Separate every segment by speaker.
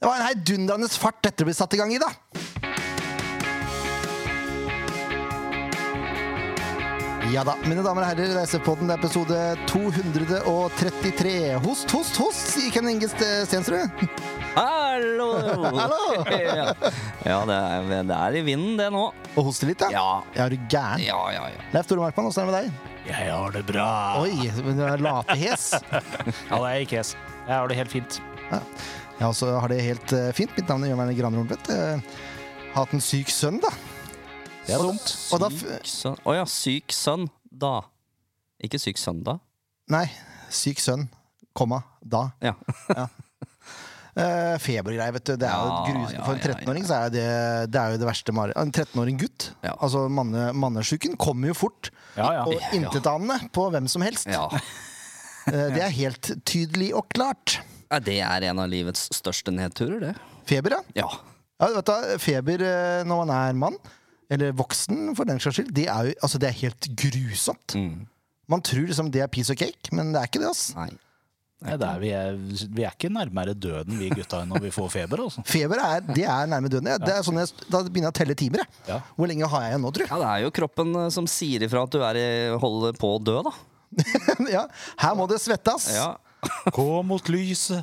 Speaker 1: Det var en heidundrende fart dette ble satt i gang i, da. Ja da, mine damer og herrer, Reisepodden det er episode 233. Host, host, host, sier Ken Inge Ste- Stensrud.
Speaker 2: Hallo!
Speaker 1: Hallo!
Speaker 2: ja, Ja, det er, det er i vinden, det nå.
Speaker 1: Og hoster litt, da.
Speaker 2: Ja.
Speaker 1: Er du gæren?
Speaker 2: Ja, ja, ja.
Speaker 1: Leif Tore Markmann, åssen er det med deg?
Speaker 3: Jeg har det bra.
Speaker 1: Oi, men du er latehes.
Speaker 3: Ja, det er ikke hes. Jeg har det helt fint.
Speaker 1: Jeg også har det helt eh, fint. Mitt navn er Jørn Werner Graner Horntvedt. Eh, Hatt en syk sønn, da.
Speaker 3: Det er dumt.
Speaker 1: Og da f
Speaker 2: Syk sønn Å ja, syk sønn. Da. Ikke syk søndag.
Speaker 1: Nei, syk sønn, komma, da.
Speaker 2: Ja.
Speaker 1: Uh, febergreier, vet du. Det er jo
Speaker 2: Ja,
Speaker 1: grus
Speaker 2: ja,
Speaker 1: For en
Speaker 2: ja,
Speaker 1: 13-åring så er det, det er jo det verste mari- En 13-åring gutt.
Speaker 2: Ja.
Speaker 1: Altså manne, mannesjuken kommer jo fort.
Speaker 3: Ja, ja.
Speaker 1: Og intetanende på hvem som helst.
Speaker 2: ja.
Speaker 1: Eh, det er helt tydelig og klart.
Speaker 2: Ja, Det er en av livets største nedturer, det.
Speaker 1: Feber, ja.
Speaker 2: Ja.
Speaker 1: ja vet du, feber eh, når man er mann, eller voksen for den saks skyld, det er jo altså, det er helt grusomt.
Speaker 2: Mm.
Speaker 1: Man tror liksom det er piece of cake, men det er ikke det. ass
Speaker 2: Nei.
Speaker 3: Det er der vi, er, vi er ikke nærmere døden, vi gutta, enn når vi får feber. Altså.
Speaker 1: Feber er, det er nærme døden. Ja. Det er sånn jeg, da begynner jeg å telle timer. Jeg.
Speaker 3: Ja.
Speaker 1: Hvor lenge har jeg igjen nå, tror jeg?
Speaker 2: Ja, det er jo kroppen eh, som sier ifra at du er i, holder på å dø, da.
Speaker 1: ja, her må det svettes!
Speaker 2: Ja.
Speaker 3: Gå mot lyset.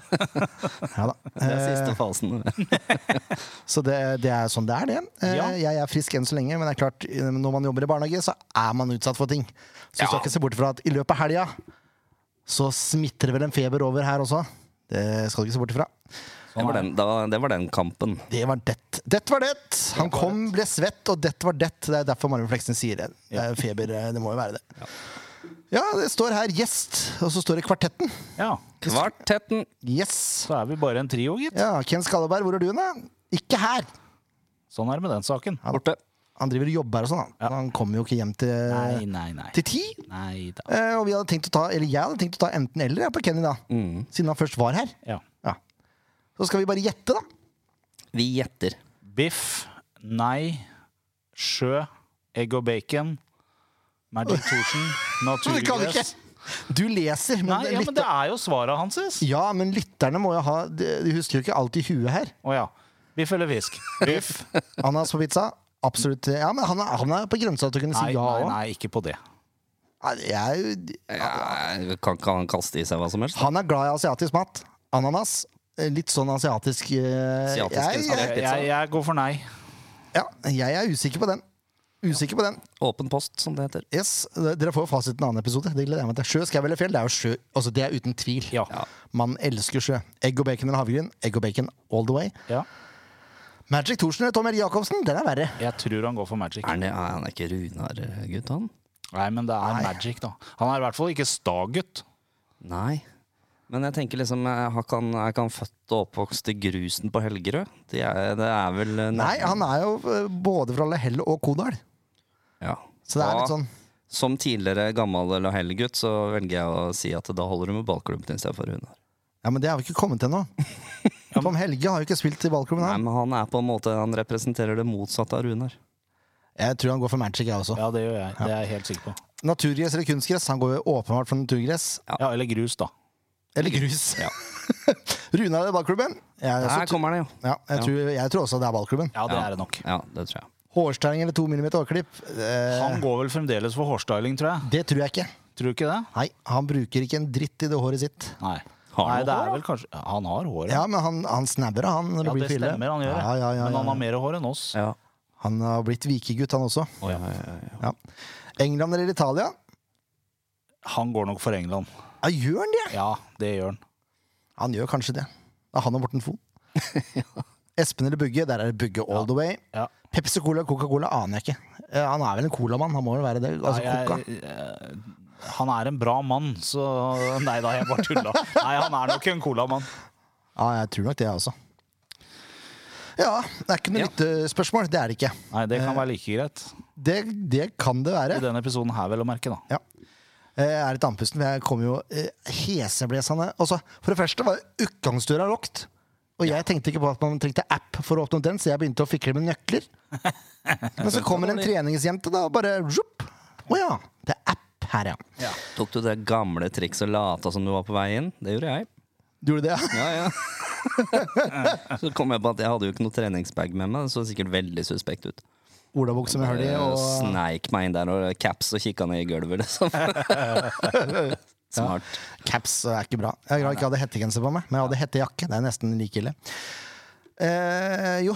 Speaker 1: Ja da.
Speaker 2: Det er
Speaker 1: Eh.
Speaker 2: siste fasen.
Speaker 1: Så det, det er sånn det er, det. Eh,
Speaker 3: Ja.
Speaker 1: Jeg er frisk enn så lenge, men det er klart, eh, når man jobber i barnehage, så er man utsatt for ting. Så du skal ikke se bort fra at i løpet av helga så smitter det vel en feber over her også. Det skal du ikke se bort ifra.
Speaker 2: Det var den, da, det var den kampen.
Speaker 1: Det var det. Det var det! Han kom, ble svett, og det var det. Det er derfor Marvin Fleksen sier det. Det er feber, eh, det må jo være det. Ja, det står her 'gjest', og så står det 'Kvartetten'.
Speaker 3: Ja,
Speaker 2: Kvartetten.
Speaker 1: Yes.
Speaker 3: så er vi bare en trio, gitt.
Speaker 1: Ja, Ken Skalleberg, hvor er du hen? da? Ikke her!
Speaker 3: Sånn er det med den saken.
Speaker 2: Borte.
Speaker 1: Han driver og jobber og sånn. han. Han kommer jo ikke hjem til,
Speaker 3: Nei, nei, nei.
Speaker 1: til ti.
Speaker 3: Nei da.
Speaker 1: Eh, og vi hadde tenkt å ta, eller jeg hadde tenkt å ta enten eller jeg, på Kenny, da. Siden han først var her.
Speaker 3: Ja.
Speaker 1: Ja. Så skal vi bare gjette, da.
Speaker 2: Vi gjetter.
Speaker 3: Biff, nei, sjø, egg og bacon, Magic Torsen,
Speaker 1: Men det kan vi
Speaker 3: naturgress.
Speaker 1: ikke. Du leser, men,
Speaker 3: Nei, ja, men
Speaker 1: lytter-
Speaker 3: det er jo svaret hans. Å
Speaker 1: ja, men lytterne må jo ha De de husker jo ikke alt i huet her.
Speaker 3: ja. Biff eller fisk? Biff.
Speaker 1: Ananas på pizza? Absolutt. Ja, men han er, han er på grensa til å kunne si
Speaker 3: Nei,
Speaker 1: ja
Speaker 3: nei,
Speaker 1: òg.
Speaker 3: nei, ikke på det.
Speaker 2: Ja, kan ikke han kaste i seg hva som helst?
Speaker 1: Han er glad i asiatisk mat. Ananas. eh, Litt sånn asiatisk eh,
Speaker 2: Asiatisk
Speaker 1: jeg, jeg,
Speaker 2: installert.
Speaker 3: Jeg,
Speaker 2: Pizza.
Speaker 3: jeg, jeg går for nei.
Speaker 1: ja, jeg er usikker på den. Usikker på den.
Speaker 2: Åpen post, som det heter.
Speaker 1: Yes, Dere får jo fasiten i en annen episode. Det gleder jeg meg til. Sjø, skau eller fjell? Det er jo sjø. Altså, det er uten tvil.
Speaker 3: Ja.
Speaker 1: Man elsker sjø. Egg og bacon eller havgryn? Egg og bacon all the way.
Speaker 3: Ja.
Speaker 1: Magic Thorsen eller Tom Erik Jacobsen? Den er verre.
Speaker 3: Jeg tror han går for magic.
Speaker 2: Er han, er han ikke Runar, eh, gutt, han?
Speaker 3: Nei, men det er magic, da. Han er i hvert fall ikke sta-gutt.
Speaker 2: Nei. Men jeg tenker liksom, eh, har ikke han, er ikke han født og oppvokst i grusen på Helgerød? Det er, det er vel eh,
Speaker 1: Nei, han er jo eh, både fra Lahell og Kodal.
Speaker 2: ja.
Speaker 1: Så det er
Speaker 2: Da,
Speaker 1: litt sånn
Speaker 2: Som tidligere gammel Lahell-gutt, så velger jeg å si at da holder du med ballklubben istedenfor Runar.
Speaker 1: Ja, men det har vi ikke kommet til ennå. Tom Helge har jo ikke spilt i ballklubben,
Speaker 2: Nei,
Speaker 1: han.
Speaker 2: men han er på en måte, han representerer det motsatte av Runar.
Speaker 1: Jeg tror han går for magic, jeg også.
Speaker 3: Ja, det gjør jeg. Det er jeg helt sikker på.
Speaker 1: Naturgress eller kunstgress? Han går jo åpenbart for naturgress.
Speaker 3: Ja, Eller grus, da.
Speaker 1: Eller grus. Runar eller ballklubben? Jeg,
Speaker 2: Her
Speaker 1: også,
Speaker 2: kommer det, jo.
Speaker 1: ja, jeg, tror, jeg tror også det er ballklubben.
Speaker 3: Ja, det er det nok.
Speaker 2: Ja, det tror jeg.
Speaker 1: Hårstang eller to millimeter hårklipp? Eh,
Speaker 3: Han går vel fremdeles for hårstyling, tror jeg.
Speaker 1: Det tror jeg ikke.
Speaker 3: Tror du ikke det?
Speaker 1: Nei, han bruker ikke en dritt i det håret sitt.
Speaker 3: Nei.
Speaker 2: Har
Speaker 3: Nei,
Speaker 2: han
Speaker 3: det
Speaker 2: hår,
Speaker 3: er
Speaker 2: da?
Speaker 3: vel kanskje Han har hår, ja.
Speaker 1: Ja, men han, han snabber, han. Når det
Speaker 3: Ja, det
Speaker 1: blir fille.
Speaker 3: stemmer, han gjør det.
Speaker 1: Ja, ja, ja,
Speaker 3: Men han
Speaker 1: ja.
Speaker 3: har mer hår enn oss.
Speaker 2: Ja.
Speaker 1: Han har blitt vikegutt, han også.
Speaker 3: Å, ja.
Speaker 1: Ja. England eller Italia?
Speaker 3: Han går nok for England.
Speaker 1: Ja, gjør han det?
Speaker 3: Ja, det gjør han.
Speaker 1: Han gjør kanskje det. Ja, han og Morten Fon. Espen eller Bugge? Der er det Bugge all the way.
Speaker 3: Ja.
Speaker 1: Pepsi Cola og Coca-Cola aner jeg ikke. Eh, Han er vel en colamann, han må vel være det. Altså,
Speaker 3: Nei,
Speaker 1: Coca.
Speaker 3: jeg, eh, han er en bra mann, så Nei da, jeg bare tulla. Nei, han er nok en colamann.
Speaker 1: Ja, jeg tror nok det, jeg også. Ja, det er ikke noe
Speaker 2: Ja.
Speaker 1: lyttespørsmål. Det er det ikke.
Speaker 3: Nei, det kan være like greit.
Speaker 1: Det, det kan det være.
Speaker 3: I denne episoden her, vel å merke, da.
Speaker 1: Ja. Eh, Jeg er litt andpusten, for jeg kom jo eh, heseblesende. Altså, for det første var utgangsdøra lukket. Og jeg tenkte ikke på at man trengte app for å åpne opp den, så jeg begynte å fikle med nøkler. Men så kommer en treningsjente da, og bare zjupp. Å ja, det er app her, ja.
Speaker 2: Tok du det gamle trikset og lata som du var på vei inn? Det gjorde jeg.
Speaker 1: Du gjorde det, ja?
Speaker 2: Ja, ja. så kom jeg på at jeg hadde jo ikke noe treningsbag med meg. Det så sikkert veldig suspekt ut.
Speaker 1: Olabukse med hull i
Speaker 2: Jeg
Speaker 1: og
Speaker 2: Eh, Sneik meg inn der og caps og kikka ned i gulvet, liksom. Smart.
Speaker 1: caps er ikke bra. Jeg er glad jeg ikke hadde hettegenser på meg, men jeg hadde hettejakke. Det er nesten like ille. Eh, jo,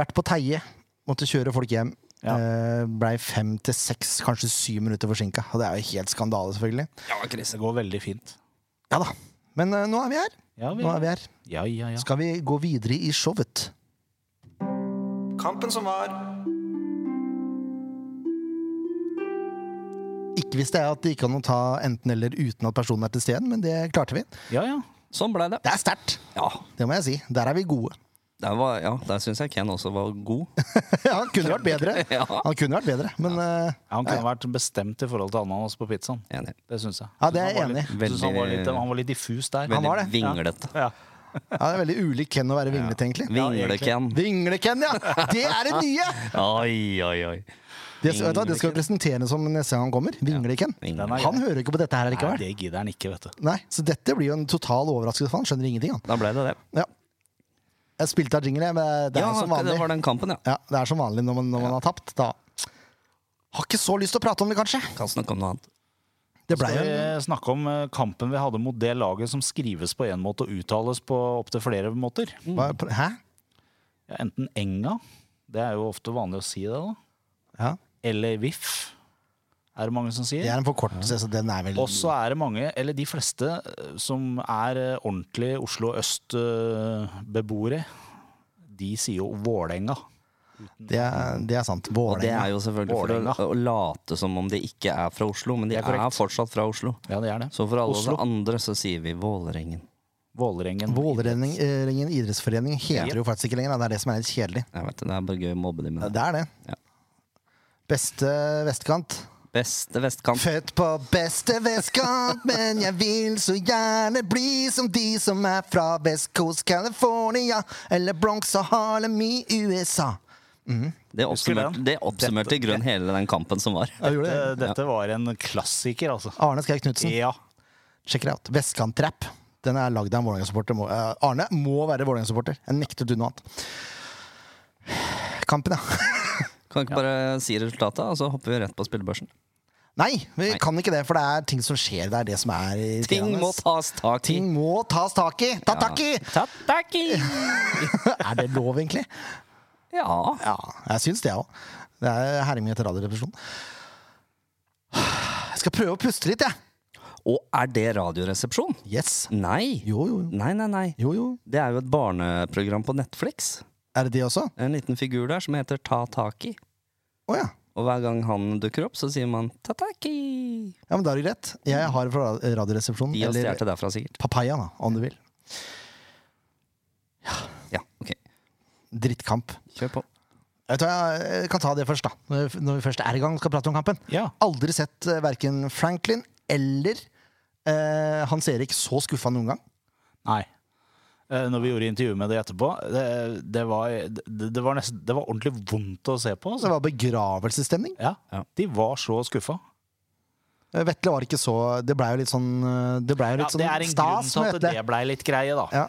Speaker 1: vært på Teie. Måtte kjøre folk hjem.
Speaker 3: Ja.
Speaker 1: Eh, Blei fem til seks, kanskje syv minutter forsinka. Og det er jo helt skandale, selvfølgelig.
Speaker 2: Ja, Chris.
Speaker 3: Det går veldig fint.
Speaker 1: Ja da. Men eh, nå er vi her.
Speaker 3: Ja, vi,
Speaker 1: Nå er vi her.
Speaker 3: ja, ja, ja.
Speaker 1: Skal vi gå videre i showet? Kampen som var Ikke visste jeg at det gikk an å ta enten eller uten at personen er til stede, men det klarte vi.
Speaker 3: ja, ja.
Speaker 2: Sånn blei det.
Speaker 1: Det er sterkt,
Speaker 2: Ja,
Speaker 1: det må jeg si. Der er vi gode.
Speaker 2: der, var- ja, der syns jeg Ken også var god.
Speaker 1: Ja, han kunne vært bedre,
Speaker 2: Ja.
Speaker 1: Han kunne vært bedre, men eh,
Speaker 3: Ja, Han kunne vært bestemt i forhold til ananas på pizzaen.
Speaker 2: Enig.
Speaker 3: Det syns jeg.
Speaker 1: Ja, det er jeg enig
Speaker 3: Synes han var
Speaker 2: i.
Speaker 3: litt- synes han, var
Speaker 2: Veldig-
Speaker 3: litt- han var litt diffus der.
Speaker 2: Veldig
Speaker 1: var det.
Speaker 2: vinglete.
Speaker 3: Ja.
Speaker 1: ja, det er veldig ulik Ken å være vinglete, egentlig.
Speaker 2: Vingle-Ken.
Speaker 1: Vingle-Ken, ja! Det er det nye!
Speaker 2: Oi, oi, oi.
Speaker 1: Det, skal- vet du, hva, det skal vi presentere som neste gang han kommer. Vingle-Ken.
Speaker 2: Vingle.
Speaker 3: Den er
Speaker 1: Han hører ikke på dette her
Speaker 3: Nei,
Speaker 1: likevel.
Speaker 3: det gidder han ikke, vet du.
Speaker 1: Nei, Så dette blir jo en total overraskelse for han. Skjønner ingenting, han.
Speaker 2: Da blei det det.
Speaker 1: Ja. Jeg spilte av jingle, jeg, men eh, det er
Speaker 2: Ja,
Speaker 1: som vanlig.
Speaker 2: det var den kampen, ja.
Speaker 1: Ja, det er som vanlig når man, når man har tapt. Da har ikke så lyst til å prate om det, kanskje.
Speaker 2: Kan snakke om noe annet.
Speaker 1: Det ble
Speaker 3: Skal
Speaker 1: jo
Speaker 3: vi snakke om eh, kampen vi hadde mot det laget som skrives på én måte og uttales på opptil flere måter?
Speaker 1: Hva- pr- Hæ?
Speaker 3: Ja, enten Enga, det er jo ofte vanlig å si det, da.
Speaker 1: Ja.
Speaker 3: Eller VIF, er det mange som
Speaker 1: Det
Speaker 3: sier.
Speaker 1: er en forkortelse, så den er vel
Speaker 3: Og så er det mange, eller de fleste, eh, som er eh, ordentlige Oslo øst-beboere. De sier jo Vålerenga.
Speaker 1: det er, det er sant.
Speaker 2: Og det er
Speaker 1: Vålerenga.
Speaker 2: jo selvfølgelig for å,
Speaker 3: Vålerenga.
Speaker 2: å late som om de ikke er fra Oslo, men de
Speaker 3: Det er
Speaker 2: er,
Speaker 3: korrekt.
Speaker 2: fortsatt fra Oslo.
Speaker 3: Ja, det er det.
Speaker 2: Så for alle
Speaker 3: Oslo.
Speaker 2: oss andre så sier vi Vålerengen.
Speaker 3: Vålerengen.
Speaker 1: Vålerengen eh, idrettsforening heter det jo faktisk ikke lenger. da. Det er det som er litt kjedelig.
Speaker 2: Jeg vet det, det er bare gøy å mobbe dem med det.
Speaker 1: Det er det.
Speaker 2: Ja.
Speaker 1: Beste vestkant.
Speaker 2: Beste vestkant.
Speaker 1: Født på beste vestkant, men jeg vil så gjerne bli som de som er fra West Coast California eller Bronx og Harlem i USA.
Speaker 2: Det oppsummerte,
Speaker 3: den?
Speaker 2: det oppsummerte i grunn hele den kampen som var.
Speaker 3: Dette, dette var en klassiker, altså.
Speaker 1: Arne Skei Knutsen,
Speaker 3: Ja.
Speaker 1: sjekk det ut. Vestkantrap. Den er lagd av en Vålerenga-supporter. Må- eh, Arne må være Vålerenga-supporter. Jeg nekter du noe annet. Kampen, ja.
Speaker 2: Kan ikke bare si resultatet, og så hopper vi rett på spillebørsen.
Speaker 1: Nei, vi kan ikke det, for det er ting som skjer. Det er det som er
Speaker 2: Ting
Speaker 1: irriterende.
Speaker 2: må tas tak i.
Speaker 1: Ting må tas tak i! Ta tak i!
Speaker 2: Ta tak i!
Speaker 1: Er det lov, egentlig?
Speaker 2: Ja.
Speaker 1: Ja, jeg syns det òg. Det er herming etter radiorepresjon. Jeg skal prøve å puste litt, jeg.
Speaker 2: Og er det Radioresepsjon?
Speaker 1: Yes.
Speaker 2: Nei.
Speaker 1: Jo, jo, jo.
Speaker 2: Nei, nei, nei.
Speaker 1: jo, jo.
Speaker 2: Det er jo et barneprogram på Netflix.
Speaker 1: Er det de også?
Speaker 2: En liten figur der som heter Ta tak i.
Speaker 1: Å ja.
Speaker 2: Og hver gang han dukker opp, så sier man Ta tak i!
Speaker 1: ja. Men da har du rett. Jeg har det fra ra- Radioresepsjonen.
Speaker 2: De har
Speaker 1: Eller
Speaker 2: stjålet derfra, sikkert.
Speaker 1: Papaya, da, om du vil.
Speaker 2: Ja, ok.
Speaker 1: Drittkamp.
Speaker 2: Kjør på.
Speaker 1: Jeg, tror jeg, jeg kan ta det først, da. Når vi- Når vi først er i gang og skal prate om kampen.
Speaker 3: ja.
Speaker 1: Aldri sett eh, verken Franklin eller eh, Hans Erik så skuffa noen gang.
Speaker 3: Nei. Eh, Når vi gjorde intervju med det etterpå, det, det, var, det, det, var nesten, det var ordentlig vondt å se på.
Speaker 1: Så det
Speaker 3: Altså.
Speaker 1: var begravelsesstemning.
Speaker 3: Ja,
Speaker 2: Ja.
Speaker 3: De var så skuffa.
Speaker 1: Eh, Vetle var ikke så Det blei jo litt sånn eh, Det blei jo
Speaker 3: Ja,
Speaker 1: litt
Speaker 3: det
Speaker 1: sånn
Speaker 3: er en grunn
Speaker 1: stas
Speaker 3: til
Speaker 1: med
Speaker 3: at
Speaker 1: Vetle.
Speaker 3: det blei litt greie, da.
Speaker 1: Ja.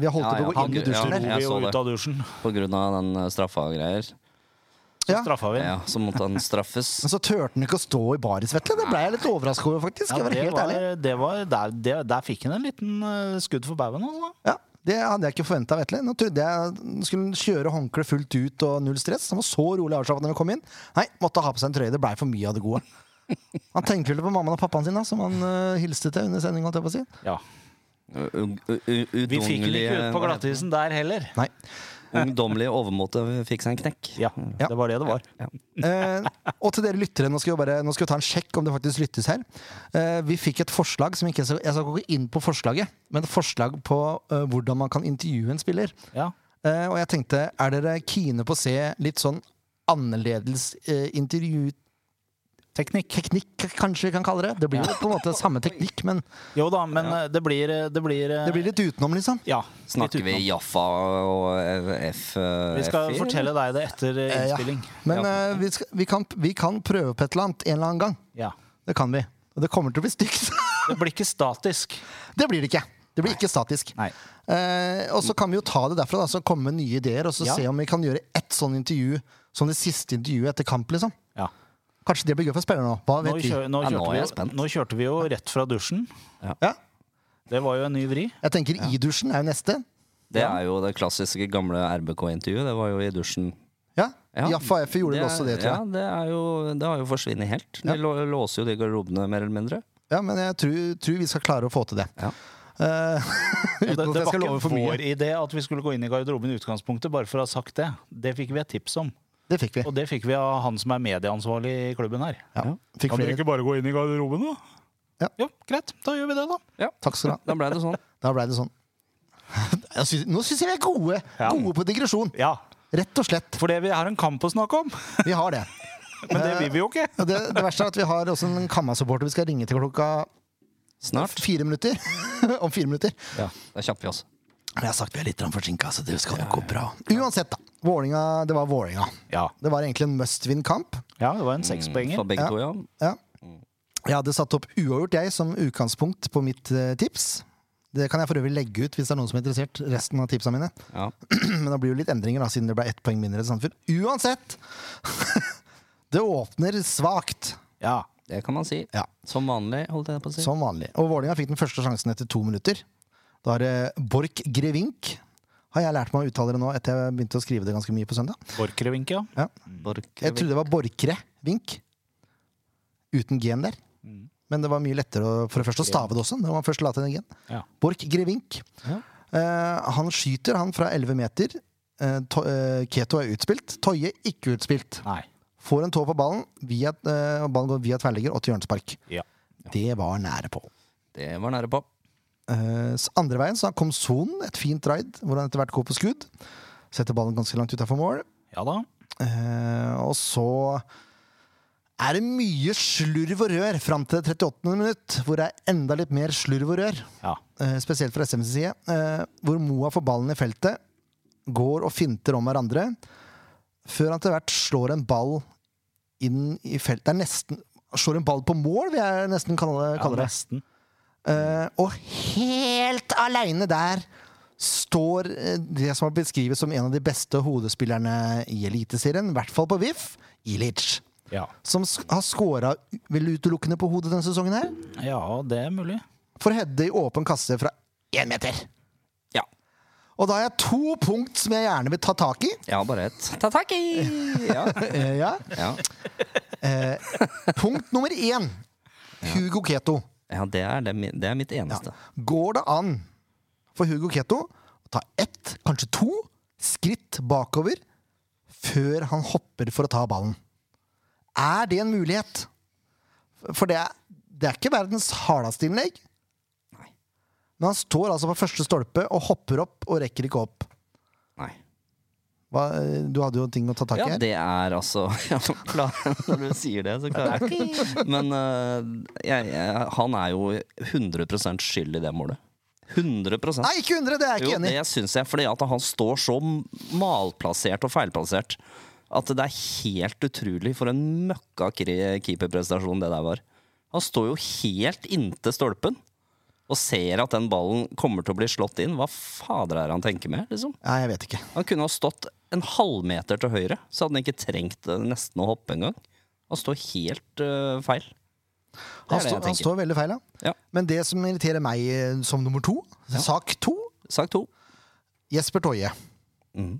Speaker 1: Vi har holdt på
Speaker 2: Ja, ja,
Speaker 1: å gå inn
Speaker 2: han-
Speaker 1: i dusjen
Speaker 2: ja,
Speaker 1: der.
Speaker 3: Vi
Speaker 2: jeg
Speaker 3: er jo
Speaker 2: så det.
Speaker 3: ut av dusjen,
Speaker 2: På grunn av den eh, straffa og greier.
Speaker 3: så
Speaker 1: Ja.
Speaker 3: straffa vi den.
Speaker 2: Ja, så måtte han straffes.
Speaker 1: Men så turte han ikke å stå i baris, Vetle. Det ble jeg litt overraska over, faktisk. skal
Speaker 3: Ja,
Speaker 1: jeg være
Speaker 3: det
Speaker 1: helt
Speaker 3: var,
Speaker 1: ærlig.
Speaker 3: det var, der, det, der fikk han en liten eh, skudd for baugen. Altså.
Speaker 1: Ja, det hadde jeg ikke forventa, Vetle. Nå trodde jeg han skulle kjøre håndkle fullt ut og null stress. Han var så rolig avslappet når vi kom inn. Nei, måtte ha på seg en trøye. Det blei for mye av det gode. Han tenkte vel på mammaen og pappaen sin, da, som han eh, hilste til under sending. Holdt jeg på å si.
Speaker 3: Ja.
Speaker 2: U- u- u-
Speaker 3: Vi fikk den ikke
Speaker 1: eh,
Speaker 3: ut på
Speaker 2: Udungelig
Speaker 3: glattisen der heller.
Speaker 1: Nei.
Speaker 2: Ungdommelig overmåte fikk seg en knekk.
Speaker 3: Ja,
Speaker 1: Ja.
Speaker 3: det var det det var.
Speaker 1: Eh, og til dere lyttere, nå skal, vi bare, nå skal vi ta en sjekk om det faktisk lyttes her. Eh, vi fikk et forslag som ikke Jeg skal jeg skal ikke gå inn på forslaget, men et forslag på eh, hvordan man kan intervjue en spiller.
Speaker 3: Ja.
Speaker 1: Eh, og jeg tenkte, er dere kine på å se litt sånn annerledes eh, intervjuteknikk? Teknikk, kanskje vi kan kalle det. Det blir jo på en måte samme teknikk, men
Speaker 3: Jo da, men eh, det blir eh, Det blir, eh,
Speaker 1: det blir litt utenom, liksom.
Speaker 3: ja,
Speaker 2: Snakker vi
Speaker 3: litt utenom.
Speaker 2: Jaffa og F...
Speaker 3: Vi skal fortelle deg det etter eh,
Speaker 1: Eh, ja.
Speaker 3: innspilling.
Speaker 1: Men eh, vi, skal, vi, kan, vi kan prøve på et eller annet en eller annen gang.
Speaker 3: Ja.
Speaker 1: Det kan vi. Og det kommer til å bli stygt.
Speaker 3: Det blir ikke statisk.
Speaker 1: det blir det ikke. Det blir ikke statisk.
Speaker 3: Nei.
Speaker 1: Eh, og så kan vi jo ta det derfra, da, så komme med nye ideer, og så
Speaker 3: Ja.
Speaker 1: se om vi kan gjøre ett sånn intervju som det siste intervjuet etter kamp, liksom.
Speaker 3: Ja.
Speaker 1: Kanskje det blir gøy for spillerne òg. Hva
Speaker 3: Nå,
Speaker 1: vet vi?
Speaker 3: kjø, nå,
Speaker 2: Ja, nå er
Speaker 3: kjørte vi
Speaker 2: jeg
Speaker 3: jo,
Speaker 2: spent.
Speaker 3: nå kjørte vi jo rett fra dusjen.
Speaker 1: Ja.
Speaker 3: Det var jo en ny vri.
Speaker 1: Jeg tenker i dusjen er jo neste.
Speaker 2: Det er jo det klassiske gamle RBK-intervjuet. Det var jo i dusjen.
Speaker 1: Ja.
Speaker 2: Ja.
Speaker 1: Jaffa F gjorde vel også det, tror jeg.
Speaker 2: Ja, det, er jo, det har jo forsvunnet helt. De lå- låser jo de garderobene, mer eller mindre.
Speaker 1: Ja, men jeg tror, tror vi skal klare å få til det.
Speaker 2: Ja.
Speaker 1: Eh,
Speaker 3: Og
Speaker 1: uten at
Speaker 3: det, det
Speaker 1: jeg
Speaker 3: var
Speaker 1: skal love
Speaker 3: ikke
Speaker 1: for mye.
Speaker 3: vår idé at vi skulle gå inn i garderoben i utgangspunktet, bare for å ha sagt det. Det fikk vi et tips om.
Speaker 1: Det fikk vi.
Speaker 3: Og det fikk vi av han som er medieansvarlig i klubben her.
Speaker 1: Ja. Fikk flere.
Speaker 3: bare gå inn i garderoben, da?
Speaker 1: Ja.
Speaker 3: Jo, greit. Da gjør vi det, da.
Speaker 1: Takk skal du ha.
Speaker 2: Da ble det sånn.
Speaker 1: Da blei det sånn. Jeg synes, nå syns jeg vi er gode,
Speaker 3: Ja.
Speaker 1: gode på digresjon.
Speaker 3: Ja,
Speaker 1: Rett og slett.
Speaker 3: for det vi har en kamp å snakke om.
Speaker 1: Vi har det.
Speaker 3: Men det vil vi jo ikke.
Speaker 1: Og Det, det verste er at vi har også en Kamma-supporter vi skal ringe til klokka
Speaker 2: Snart.
Speaker 1: fire minutter. Om fire minutter.
Speaker 2: Ja, da kjapper vi oss.
Speaker 1: Men jeg har sagt vi er litt forsinka, så det skal nok gå bra. Uansett, da. Vålinga, det var Vålinga.
Speaker 3: Ja, Mm, sånn.
Speaker 1: Det var egentlig en must win-kamp.
Speaker 3: ja det var en sekspoenger.
Speaker 2: For begge to, ja.
Speaker 1: Ja. Jeg hadde satt opp uavgjort, jeg, som utgangspunkt på mitt eh, tips. Det kan jeg for øvrig legge ut hvis det er noen som er interessert. resten av tipsene mine.
Speaker 2: ja.
Speaker 1: Men det blir jo litt endringer, da, siden det ble ett poeng mindre til Sandefjord. Uansett! det åpner svakt,
Speaker 3: Ja.
Speaker 2: Det kan man si.
Speaker 1: Ja.
Speaker 2: Som vanlig, holdt jeg på å si.
Speaker 1: som vanlig. Og Vålinga fikk den første sjansen etter to minutter. Da er det Borch Grevink. Har jeg lært meg å uttale det nå etter jeg begynte å skrive det ganske mye på søndag.
Speaker 3: Borchgrevink, ja.
Speaker 1: Ja. Jeg
Speaker 2: Borchgrevink.
Speaker 1: trodde det var Borchgrevink. Uten gen der. Men det var mye lettere å, for det første å stave det også. når man først la til en gen.
Speaker 3: Ja.
Speaker 1: Borch Grevink.
Speaker 2: Ja.
Speaker 1: Eh, han skyter, han fra 11 meter. Eh, to, eh, Keto er utspilt. Toje ikke utspilt.
Speaker 3: Nei.
Speaker 1: Får en tå på ballen, via, eh, og ballen går via tverrligger og til hjørnespark.
Speaker 3: Ja.
Speaker 1: Det var nære på.
Speaker 2: Det var nære på.
Speaker 1: Eh, s- andre veien så kom Son, et fint raid, hvor han etter hvert går på skudd. Setter ballen ganske langt utafor mål.
Speaker 3: Ja da.
Speaker 1: Eh, og så er det mye slurv og rør fram til det 38. minutt, hvor det er enda litt mer slurv og rør.
Speaker 3: Ja.
Speaker 1: Eh, spesielt fra SMs side, eh, hvor Moa får ballen i feltet, går og finter om hverandre, før han til hvert slår en ball inn i feltet. Det er nesten Slår en ball på mål, vil jeg nesten kalle,
Speaker 3: ja
Speaker 1: kalle det.
Speaker 3: nesten.
Speaker 1: Eh, og helt aleine der står eh, det som har beskrives som en av de beste hodespillerne i Eliteserien, i hvert fall på VIF, Ilic.
Speaker 3: Ja.
Speaker 1: Som sk- har skåra vel utelukkende på hodet denne sesongen her.
Speaker 3: ja, det er mulig.
Speaker 1: For Hedde i åpen kasse fra én meter.
Speaker 2: Ja.
Speaker 1: Og da har jeg to punkt som jeg gjerne vil ta tak i.
Speaker 2: Jeg har bare ett. Ta tak i! Ja.
Speaker 1: Eh, ja.
Speaker 2: Ja.
Speaker 1: Eh, Punkt nummer én. Hugo Keto.
Speaker 2: ja, det er, det, mi- det er mitt eneste.
Speaker 1: Går det an for Hugo Keto å ta ett, kanskje to, skritt bakover før han hopper for å ta ballen? Er det en mulighet? For det er, det er ikke verdens hardeste innlegg. Men han står altså på første stolpe og hopper opp og rekker ikke opp.
Speaker 2: Nei.
Speaker 1: Hva, du hadde jo ting å ta tak i
Speaker 2: Ja,
Speaker 1: her.
Speaker 2: det er altså ja, klar, Når du sier det, så klarer jeg ikke. Men eh, jeg, jeg, han er jo 100 skyld i det målet. 100
Speaker 1: Nei, ikke 100! Det er jeg
Speaker 2: Jo,
Speaker 1: ikke enig i.
Speaker 2: det syns jeg, fordi at han står så malplassert og feilplassert at det er helt utrolig for en møkka kre- keeperprestasjon det der var. Han står jo helt inntil stolpen og ser at den ballen kommer til å bli slått inn. Hva fader er det han tenker med, liksom?
Speaker 1: Nei, jeg vet ikke.
Speaker 2: Han kunne ha stått en halvmeter til høyre, så hadde han ikke trengt eh, nesten å hoppe engang. Han står helt eh, feil. Det
Speaker 1: Han,
Speaker 2: er det
Speaker 1: står-
Speaker 2: jeg
Speaker 1: han
Speaker 2: tenker.
Speaker 1: står veldig feil, ja.
Speaker 2: Ja.
Speaker 1: Men det som irriterer meg eh, som nummer to, sak to,
Speaker 2: Sak to.
Speaker 1: Jesper Toje,
Speaker 2: Mhm.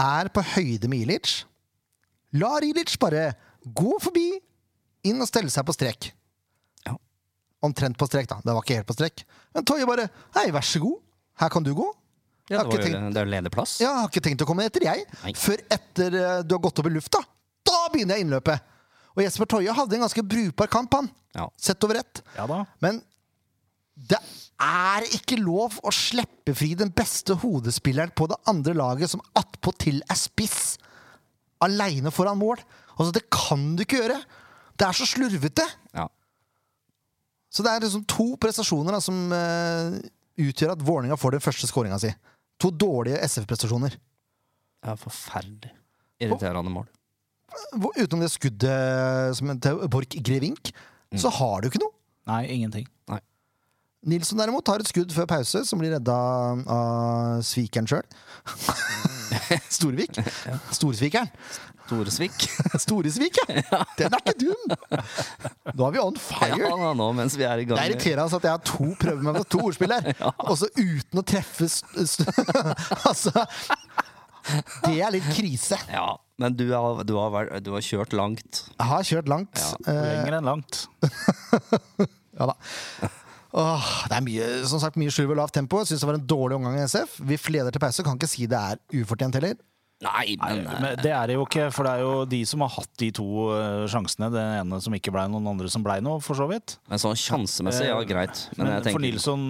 Speaker 1: er på høyde med Ilic. Lar Ilic bare gå forbi, inn og stelle seg på strek.
Speaker 2: Ja.
Speaker 1: Omtrent på strek, da. Det var ikke helt på strek. Men Toje bare Hei, vær så god. Her kan du gå. Jeg
Speaker 2: Ja,
Speaker 1: har
Speaker 2: det, var,
Speaker 1: ikke
Speaker 2: jo- det er jo ledig plass.
Speaker 1: Ja, jeg har ikke tenkt å komme etter, jeg.
Speaker 2: Nei.
Speaker 1: Før etter eh, du har gått opp i lufta. Da begynner jeg innløpet. Og Jesper Toje hadde en ganske brukbar kamp, han.
Speaker 2: Ja.
Speaker 1: Sett over ett.
Speaker 3: Ja da.
Speaker 1: Men det er ikke lov å slippe fri den beste hodespilleren på det andre laget, som attpåtil er spiss, aleine foran mål. Altså, det kan du ikke gjøre! Det er så slurvete!
Speaker 2: Ja.
Speaker 1: Så det er liksom to prestasjoner da, som eh, utgjør at Vålerenga får den første skåringa si. To dårlige SF-prestasjoner.
Speaker 2: Det er forferdelig irriterende mål.
Speaker 1: Hvor- Utenom det eh, skuddet som til Borch Grevink, så har du ikke noe.
Speaker 3: Nei, ingenting.
Speaker 1: Nilsson derimot har et skudd før pause, som blir redda av svikeren sjøl. Storvik. Storsvikeren.
Speaker 2: Storesvik.
Speaker 1: Storesvik, ja! Den er ikke dum! Nå er vi on fire.
Speaker 2: Ja, da, nå mens vi er i gang.
Speaker 1: Det er irriterende at jeg har to prøver med meg på to ordspill her, og så uten å treffe st st Altså Det er litt krise.
Speaker 2: Ja, men du har, du, har vært, du har kjørt langt.
Speaker 1: Jeg har kjørt langt.
Speaker 2: Ja.
Speaker 1: Eh,
Speaker 3: Lenger enn langt.
Speaker 1: Ja da. Åh, det er mye, som sagt, mye slurv og lavt tempo. Jeg synes det var en dårlig omgang i SF. Vi leder til pause. Kan ikke si det er ufortjent heller.
Speaker 2: Nei, men, eh,
Speaker 3: Men det er det jo ikke, for det er jo de som har hatt de to eh, sjansene. Den ene som ikke blei noe, den andre som blei noe, for så vidt.
Speaker 2: men sånn
Speaker 1: Eh,
Speaker 2: sjansemessig, ja, greit. Men,
Speaker 3: Men
Speaker 2: jeg
Speaker 3: for
Speaker 2: tenker
Speaker 3: Nilsson,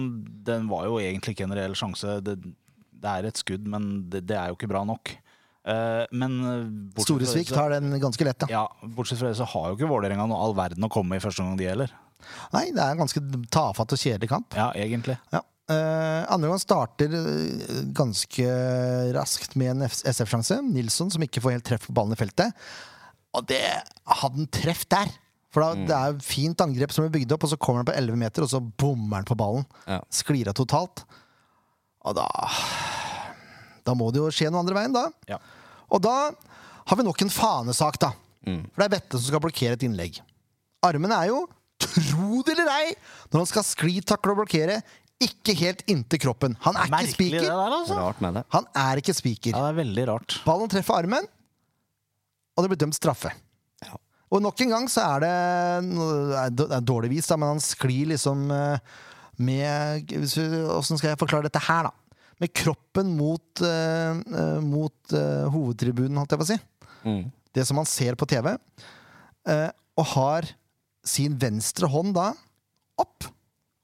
Speaker 3: den var jo egentlig ikke en reell sjanse. Det, det er et skudd, men det, det er jo ikke bra nok. Eh, men eh, bortsett fra det
Speaker 1: Storesvik
Speaker 3: så-
Speaker 1: tar den ganske lett, ja.
Speaker 3: Ja, bortsett fra det så har jo ikke Vålerenga noe all verden å komme i første gang de gjelder.
Speaker 1: Nei, det er en ganske tafatt og kjedelig kamp.
Speaker 3: Ja, egentlig.
Speaker 1: Ja. Eh, andre gang starter eh, ganske raskt med en SF-sjanse. Nilsson som ikke får helt treff på ballen i feltet. Og det hadde han treff der! For da, det er jo fint angrep som er bygd opp, og så kommer han på 11 meter, og så bommer han på ballen.
Speaker 2: Ja.
Speaker 1: Sklir av totalt. Og da Da må det jo skje noe andre veien, da.
Speaker 3: Ja.
Speaker 1: Og da har vi nok en fanesak, da. For det er Bette som skal blokkere et innlegg. Armen er jo, tro det eller ei, når han skal skli, takle og blokkere, ikke helt inntil kroppen. Han er ikke
Speaker 3: Merkelig det
Speaker 1: spiker.
Speaker 3: der, altså.
Speaker 2: Rart med det.
Speaker 1: Han er ikke spiker.
Speaker 3: Ja, det er veldig rart.
Speaker 1: Ballen treffer armen, og det blir dømt straffe.
Speaker 2: Ja.
Speaker 1: Og nok en gang så er det Det er dårlig vis, da, men han sklir liksom eh, med hvis vi- Åssen skal jeg forklare dette her, da? Med kroppen mot, eh, eh, mot eh, hovedtribunen, holdt jeg på å si.
Speaker 2: Mm.
Speaker 1: Det som han ser på TV. eh, og har sin venstre hånd da opp,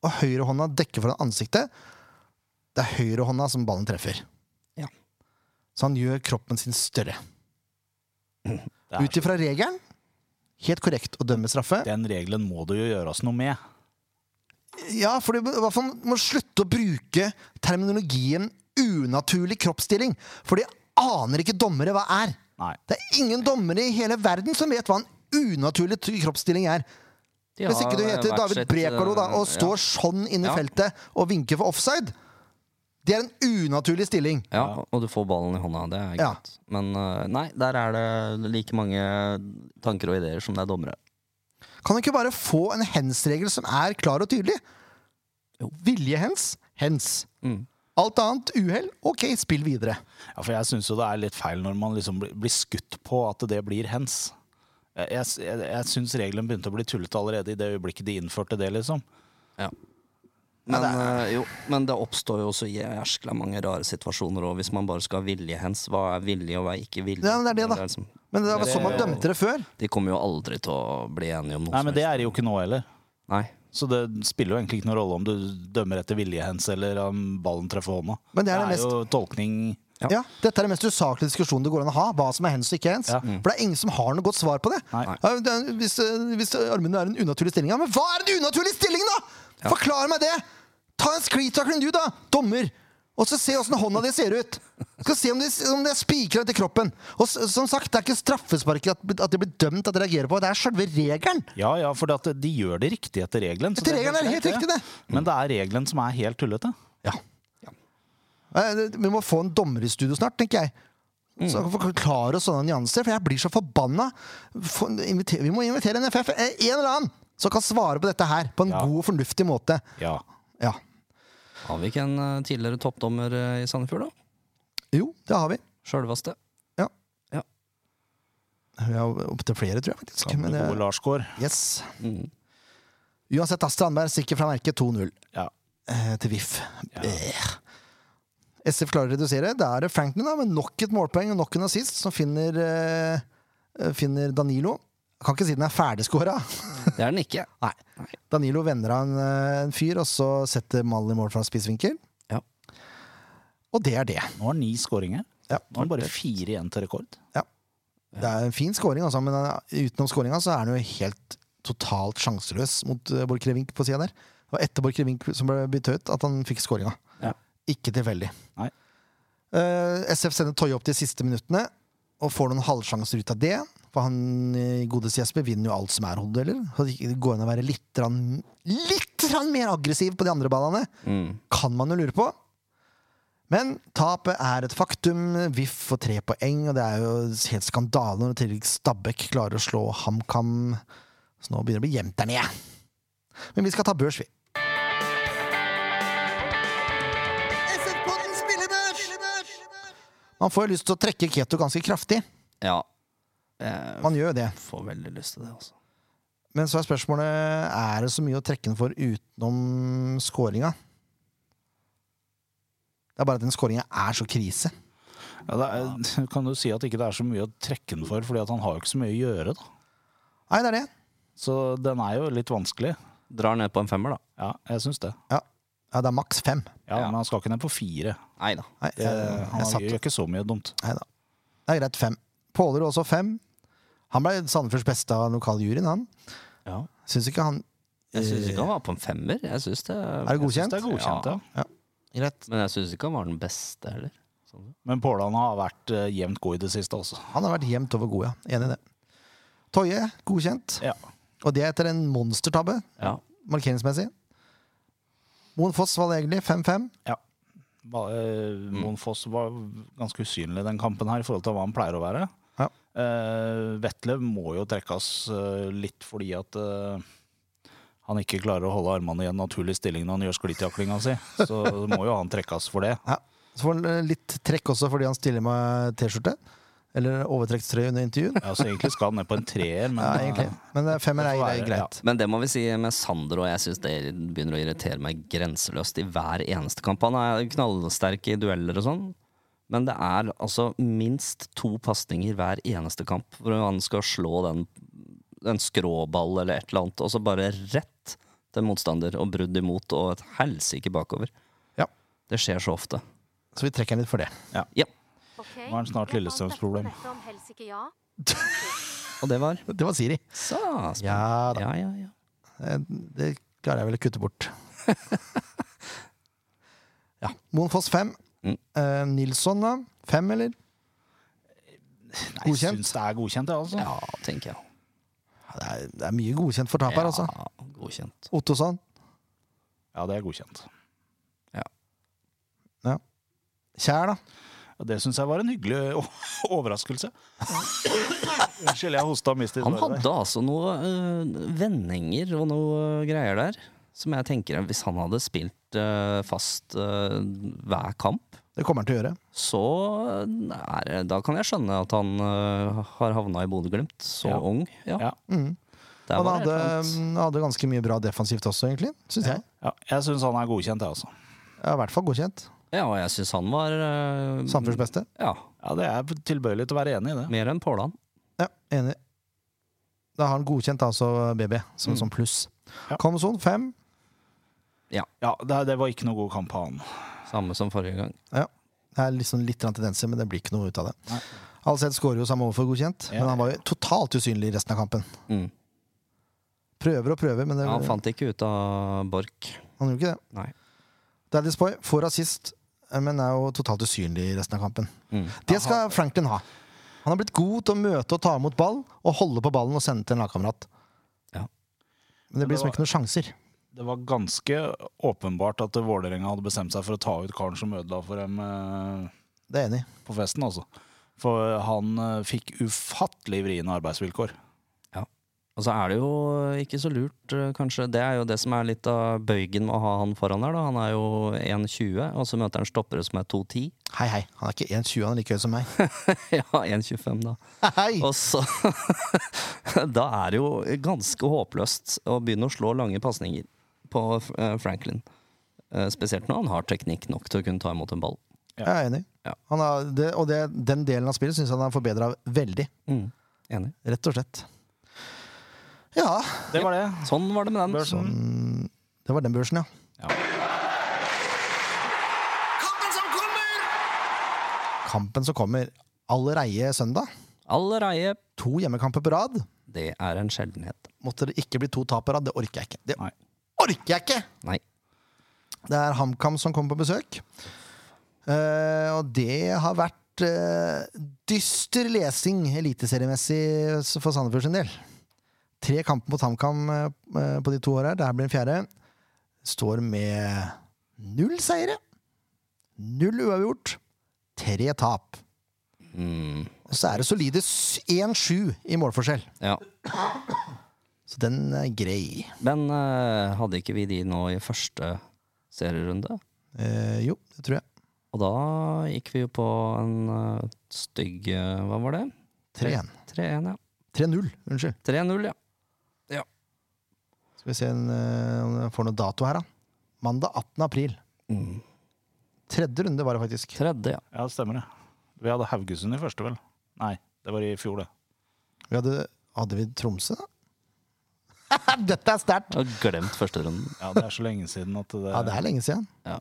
Speaker 1: og høyrehånda dekker foran ansiktet. Det er høyrehånda som ballen treffer.
Speaker 2: Ja.
Speaker 1: Så han gjør kroppen sin større.
Speaker 3: Det
Speaker 1: Ut
Speaker 3: er,
Speaker 1: ifra regelen helt korrekt å dømme straffe.
Speaker 3: den regelen må det jo gjøres noe med.
Speaker 1: Ja, for du må- i hvert fall må slutte å bruke terminologien unaturlig kroppsstilling. For de aner ikke dommere hva er.
Speaker 3: Nei.
Speaker 1: Det er ingen dommere i hele verden som vet hva en unaturlig t- kroppsstilling er.
Speaker 2: De
Speaker 1: Hvis ikke du
Speaker 2: har
Speaker 1: heter
Speaker 2: vært
Speaker 1: David
Speaker 2: sitt,
Speaker 1: Brekalo da, og
Speaker 2: ja.
Speaker 1: står sånn inne i
Speaker 2: Ja.
Speaker 1: feltet og vinker for offside, det er en unaturlig stilling.
Speaker 2: Ja, og du får ballen i hånda. Det er
Speaker 1: Ja.
Speaker 2: greit. Men eh, nei, der er det like mange tanker og ideer som det er dommere.
Speaker 1: Kan du ikke bare få en hens-regel som er klar og tydelig? Viljehens, hens.
Speaker 2: Mm.
Speaker 1: Alt annet uhell, ok, spill videre.
Speaker 3: Ja, for jeg syns jo det er litt feil når man liksom blir- blir skutt på at det blir hens. Jeg, jeg, jeg, jeg syns regelen begynte å bli tullete allerede i det øyeblikket de innførte det, liksom.
Speaker 2: Ja. Men, eh, jo, men det oppstår jo også jæskla mange rare situasjoner òg, hvis man bare skal ha vilje hens. Hva er vilje, og hva er ikke vilje?
Speaker 1: Ja, men det er det, da.
Speaker 2: liksom-
Speaker 1: Men det var
Speaker 2: Det-
Speaker 1: sånn man dømte det før.
Speaker 2: de kommer jo aldri til å bli enige om noe
Speaker 3: Nei,
Speaker 2: som
Speaker 3: men det er det jo ikke nå heller.
Speaker 2: helst. Nei.
Speaker 3: Så det spiller jo egentlig ikke noen rolle om du dømmer etter vilje hens eller om ballen treffer hånda.
Speaker 1: Men det er det mest-
Speaker 3: jo tolkning
Speaker 2: Ja.
Speaker 1: Ja, Dette er den mest usaklige diskusjonen det går an å ha. Hva som er hens og ikke hens.
Speaker 3: Ja.
Speaker 1: For det er ingen som har noe godt svar på det.
Speaker 3: Nei.
Speaker 1: Ja, det er- Hvis, eh, hvis armene er en unaturlig stilling, ja, men hva er den unaturlige stillingen, da?! Forklar meg det! Ta en sklitakling du, da, dommer! Og så se åssen hånda di ser ut! Skal se om det, om det er spikra til kroppen. Og s- som sagt, det er ikke straffesparket at, at det blir dømt at det reagerer på, det er sjølve regelen!
Speaker 3: Ja, ja, for at de gjør det riktig etter regelen. så
Speaker 1: Etter
Speaker 3: det
Speaker 1: regelen er det helt
Speaker 3: greit,
Speaker 1: riktig, det.
Speaker 3: Men det er regelen som er helt tullete.
Speaker 1: Ja. Eh, det- Vi må få en dommer i studio snart, tenker jeg. Så
Speaker 3: Mm.
Speaker 1: han kan forklare oss sånne nyanser, for jeg blir så forbanna. Få- inviter- Vi må invitere en FF, eh, en eller annen, som kan svare på dette her på en
Speaker 3: Ja.
Speaker 1: god og fornuftig måte.
Speaker 3: Ja.
Speaker 1: Ja.
Speaker 2: Har vi ikke en eh, tidligere toppdommer eh, i Sandefjord, da?
Speaker 1: Jo, det har vi.
Speaker 2: Sjølveste.
Speaker 1: Ja.
Speaker 2: Ja.
Speaker 1: Vi har opptil flere, tror jeg faktisk. Men
Speaker 3: Gamle, gode
Speaker 1: det,
Speaker 3: Larsgård.
Speaker 1: yes.
Speaker 2: Mm.
Speaker 1: Uansett, da, Strandberg stikker fra merket 2-0
Speaker 3: Ja.
Speaker 1: eh, til VIF.
Speaker 3: Ja.
Speaker 1: Eh. SF klarer å redusere. Da er det Franklin da, med nok et målpoeng og nok en assist, som finner, eh, eh, finner Danilo. Jeg kan ikke si den er ferdigskåra.
Speaker 2: Det er den ikke.
Speaker 1: Nei. Danilo vender av en, eh, en fyr, og så setter Mall i mål fra spissvinkel.
Speaker 2: Ja.
Speaker 1: Og det er det.
Speaker 3: Nå har han ni skåringer.
Speaker 1: Ja.
Speaker 3: Nå har han bare fire igjen til rekord.
Speaker 1: Det er en fin scoring, altså, men eh, utenom scoringa så er han jo helt totalt sjanseløs mot eh, Borchgrevink på sida der. Det var etter Borchgrevink som ble bytta ut, at han fikk scoringa.
Speaker 2: Ja.
Speaker 1: Ikke tilfeldig.
Speaker 3: Nei.
Speaker 1: Eh, SF sender Toye opp de siste minuttene og får noen halvsjanser ut av det. For han eh, godeste Jesper vinner jo alt som er hodedeler. Så det går an å være litt, rann, litt litt grann mer aggressiv på de andre ballene, kan man jo lure på. Men tapet er et faktum. VIF får tre poeng, og det er jo helt skandale når i tillegg Stabæk klarer å slå HamKam. Så nå begynner det å bli jevnt der nede. Men vi skal ta børs, vi. Man får jo lyst til å trekke Keto ganske kraftig.
Speaker 2: Ja. Jeg
Speaker 1: Man gjør jo det.
Speaker 2: får veldig lyst til det, altså.
Speaker 1: Men så er spørsmålet er det så mye å trekke den for utenom skåringa. Det er bare at den skåringa er så krise.
Speaker 3: Ja, det er, kan du si at ikke det er så mye å trekke den for, fordi at han har jo ikke så mye å gjøre. da.
Speaker 1: Nei, det er det.
Speaker 3: Så den er jo litt vanskelig.
Speaker 2: Drar ned på en femmer, da.
Speaker 3: Ja, jeg syns det.
Speaker 1: Ja, ja det er maks fem.
Speaker 3: Ja,
Speaker 2: Ja.
Speaker 3: Men han skal ikke ned på fire.
Speaker 2: Nei da.
Speaker 1: Nei,
Speaker 3: Det,
Speaker 1: jeg,
Speaker 3: han
Speaker 1: jeg
Speaker 3: har-
Speaker 1: satt
Speaker 3: gjør ikke så mye dumt.
Speaker 1: Nei da. Det er greit, fem. Pålerud også fem. Han ble Sandefjords beste av lokaljuryen, han.
Speaker 2: Ja.
Speaker 1: Syns ikke han
Speaker 2: Jeg syns ikke han var på en femmer. Jeg synes det
Speaker 1: Eh, Er det
Speaker 3: Jeg synes
Speaker 1: godkjent?
Speaker 3: det er godkjent, ja.
Speaker 1: Greit.
Speaker 2: Men jeg syns ikke han var den beste heller. Sånn.
Speaker 3: Men Pålan har vært eh, jevnt god i det siste også.
Speaker 1: Han har vært jevnt over god, ja. Enig i det. Toje, godkjent.
Speaker 3: Ja.
Speaker 1: Og det etter en monstertabbe,
Speaker 2: Ja.
Speaker 1: markeringsmessig. Moen Foss valgte egentlig 5-5.
Speaker 3: Ba- eh, Moen Foss var ganske usynlig den kampen her i forhold til hva han pleier å være.
Speaker 1: Ja.
Speaker 3: Eh, Vetle må jo trekkes eh, litt fordi at eh, han ikke klarer å holde armene i en naturlig stilling når han gjør sklittjaklinga si. Så må jo han trekkes for det.
Speaker 1: Ja. Så får han eh, litt trekk også fordi han stiller med T-skjorte. Eller overtrekkstrøye under intervjuet.
Speaker 3: Ja, så Altså, egentlig skal han ned på en treer, men
Speaker 1: Ja, egentlig. Men eh, femmer er,
Speaker 3: Det får
Speaker 1: er
Speaker 3: være,
Speaker 1: greit.
Speaker 2: Men det må vi si med Sander, og jeg syns det begynner å irritere meg grenseløst i hver eneste kamp. Han er knallsterk i dueller og sånn, men det er altså minst to pasninger hver eneste kamp hvor han skal slå den, en skråball eller et eller annet, og så bare rett til motstander og brudd imot og et helsike bakover.
Speaker 1: Ja.
Speaker 2: Det skjer så ofte.
Speaker 1: Så vi trekker den litt for det.
Speaker 2: Ja,
Speaker 4: Okay.
Speaker 3: Nå er det snart Lillestrøms problem.
Speaker 2: og det var
Speaker 1: Det var Siri.
Speaker 2: Så spennende.
Speaker 1: Ja da.
Speaker 2: ja, ja, ja.
Speaker 1: Eh, Det klarer jeg vel å kutte bort. ja. Moen Foss fem.
Speaker 2: Mm.
Speaker 1: Eh, Nilsson, da? Fem, eller?
Speaker 3: Nei, jeg
Speaker 1: Godkjent?
Speaker 3: syns det er godkjent, det, altså.
Speaker 2: Ja, tenker jeg.
Speaker 1: Ja, Det er, det er mye godkjent for tap her, altså.
Speaker 2: Ja, godkjent.
Speaker 1: Ottosson.
Speaker 3: Ja, det er godkjent.
Speaker 1: Kjær, da?
Speaker 3: Og det syns jeg var en hyggelig o- overraskelse. Unnskyld, jeg hosta og mistet
Speaker 2: Han
Speaker 3: svaret der.
Speaker 2: hadde altså noe øh, vendinger og noe øh, greier der, som jeg tenker at hvis han hadde spilt øh, fast øh, hver kamp,
Speaker 1: Det kommer han til å gjøre.
Speaker 2: så eh, er, det- da kan jeg skjønne at han øh, har havna i Bodø-Glimt så
Speaker 3: Ja.
Speaker 2: ung. Ja.
Speaker 3: Ja.
Speaker 1: Mm.
Speaker 2: Der
Speaker 1: Han
Speaker 2: var det
Speaker 1: hadde, um, mm,
Speaker 2: et eller annet.
Speaker 1: han hadde ganske mye bra defensivt også, egentlig. Syns jeg.
Speaker 3: Ja, jeg syns han er godkjent, jeg altså. også.
Speaker 1: Ja, I hvert fall godkjent.
Speaker 2: ja, og jeg syns han var øh,
Speaker 1: Samfunns beste.
Speaker 2: Ja,
Speaker 3: Ja, det er tilbøyelig til å være enig i det.
Speaker 2: mer enn Pålan.
Speaker 1: Ja, enig. Da har han godkjent altså BB som,
Speaker 2: Mm.
Speaker 1: som pluss.
Speaker 3: Ja.
Speaker 1: Komson fem.
Speaker 3: Ja, det, det var ikke noe god kamp av han.
Speaker 2: Samme som forrige gang.
Speaker 1: Det er liksom litt grann tendenser, men det blir ikke noe ut av det.
Speaker 3: Nei.
Speaker 1: Alseth skårer jo samme overfor godkjent,
Speaker 3: Ja.
Speaker 1: men han var jo totalt usynlig i resten av kampen.
Speaker 2: Mm.
Speaker 1: Prøver og prøver, men det,
Speaker 2: Ja, han fant ikke ut av Borch.
Speaker 1: han gjorde ikke det.
Speaker 2: Nei.
Speaker 1: Daddy Spoy får assist, eh, men er jo totalt usynlig i resten av kampen.
Speaker 2: Mm.
Speaker 1: Det skal Franklin ha. Han har blitt god til å møte og ta imot ball, og holde på ballen og sende til en lagkamerat.
Speaker 2: Ja.
Speaker 1: Men det blir
Speaker 3: det
Speaker 1: liksom ikke noen sjanser.
Speaker 3: Det var ganske åpenbart at Vålerenga hadde bestemt seg for å ta ut karen som ødela for dem eh,
Speaker 1: Det er jeg enig. i.
Speaker 3: på festen, altså. For han eh, fikk ufattelig vriene arbeidsvilkår.
Speaker 2: Og så er det jo ikke så lurt, eh, kanskje. Det er jo det som er litt av bøygen med å ha han foran der. da. Han er jo 1,20, og så møter han stoppere som er 2,10.
Speaker 1: Hei, hei. Han er ikke 1,20, han er like høy som meg.
Speaker 2: ja, 1,25 da.
Speaker 1: Hei!
Speaker 2: Og så Da er det jo ganske håpløst å begynne å slå lange pasninger på eh, Franklin. Eh, Spesielt når han har teknikk nok til å kunne ta imot en ball.
Speaker 1: Jeg er enig.
Speaker 2: Ja.
Speaker 1: Han har, det, og det, den delen av spillet syns han er forbedra veldig.
Speaker 2: Mm. Enig.
Speaker 1: Rett og slett. Ja,
Speaker 3: Det var det.
Speaker 2: Sånn var det med den.
Speaker 3: Børsen.
Speaker 1: det var den børsen, ja. Kampen som kommer allereie søndag.
Speaker 2: Allereie.
Speaker 1: To hjemmekamper på rad.
Speaker 2: Det er en sjeldenhet.
Speaker 1: Måtte det ikke bli to tap på rad, det orker jeg ikke. Det
Speaker 3: Nei.
Speaker 1: orker jeg ikke!
Speaker 2: Nei.
Speaker 1: Det er HamKam som kommer på besøk. Eh, og det har vært eh, dyster lesing eliteseriemessig eh, for Sandefjord sin del. Tre kamper mot HamKam eh, på de to åra. Det her blir den fjerde. står med null seire, null uavgjort, tre tap. Og så er det solide s- 1-7 i målforskjell.
Speaker 2: Ja.
Speaker 1: Så den er grei.
Speaker 2: Men eh, hadde ikke vi de nå i første serierunde?
Speaker 1: Eh, jo, det tror jeg.
Speaker 2: Og da gikk vi jo på en eh, stygg eh, Hva var det?
Speaker 1: 3-1.
Speaker 2: 3-1, ja.
Speaker 1: 3-0, unnskyld.
Speaker 2: 3-0, ja.
Speaker 1: Skal vi se en, eh, om jeg får noe dato her, da. Mandag 18. april.
Speaker 2: Mm.
Speaker 1: Tredje runde var det faktisk.
Speaker 2: Tredje, ja.
Speaker 3: Ja, det stemmer det. Vi hadde Haugesund i første, vel? Nei, det var i fjor, det.
Speaker 1: Vi hadde, hadde vi Tromsø, da? Dette er sterkt!
Speaker 2: Jeg har glemt første runden.
Speaker 3: Ja, Det er så lenge siden at det,
Speaker 1: Ja, det er lenge siden.
Speaker 2: Ja.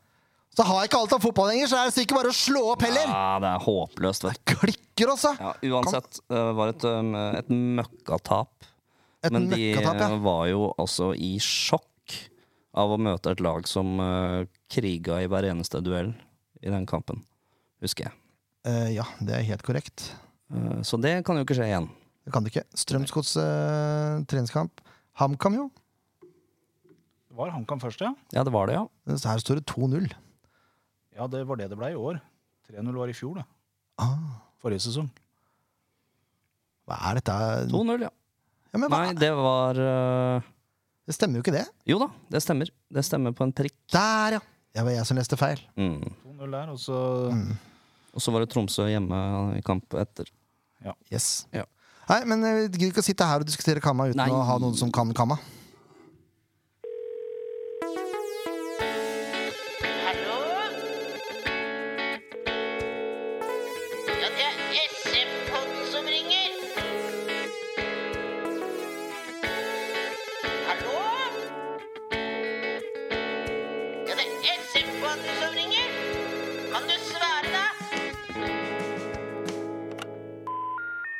Speaker 1: Så har jeg ikke alt av fotball lenger, så er det ikke bare å slå opp heller!
Speaker 2: Ja, Ah, det er håpløst, vet du.
Speaker 1: Klikker også!
Speaker 2: Ja, uansett, det var et, um, et møkkatap.
Speaker 1: Et
Speaker 2: Men de
Speaker 1: møkkatap, ja.
Speaker 2: eh, var jo altså i sjokk av å møte et lag som eh, kriga i hver eneste duell i den kampen, husker jeg.
Speaker 1: Eh, ja, det er helt korrekt.
Speaker 2: Eh, Så det kan jo ikke skje igjen.
Speaker 1: Det kan det ikke. Strømsgods eh, treningskamp. HamKam, jo.
Speaker 3: Var HamKam først, ja?
Speaker 2: Ja, det var det, ja.
Speaker 1: Så her står det 2-0.
Speaker 3: Ja, det var det det ble i år. 3-0 var i fjor, det.
Speaker 1: Ah,
Speaker 3: Forrige sesong.
Speaker 1: hva er dette?
Speaker 2: 2-0, ja.
Speaker 1: Ja, men hva?
Speaker 2: Nei, det var eh,
Speaker 1: Det stemmer jo ikke, det.
Speaker 2: Jo da, det stemmer. Det stemmer på en prikk.
Speaker 1: Der, ja! Det var jeg som leste feil.
Speaker 2: Mm.
Speaker 3: 2-0 der, og så
Speaker 2: Og så var det Tromsø hjemme i kamp etter.
Speaker 1: Yes.
Speaker 2: Ja.
Speaker 1: Nei, men eh, vi gidder ikke å sitte her og diskutere kamma uten
Speaker 2: Nei.
Speaker 1: å ha noen som kan kamma.
Speaker 4: Hallo? Ja, det er SM-podden som ringer. Hallo? Ja, det er SM-podden som ringer. Kan du svare, da?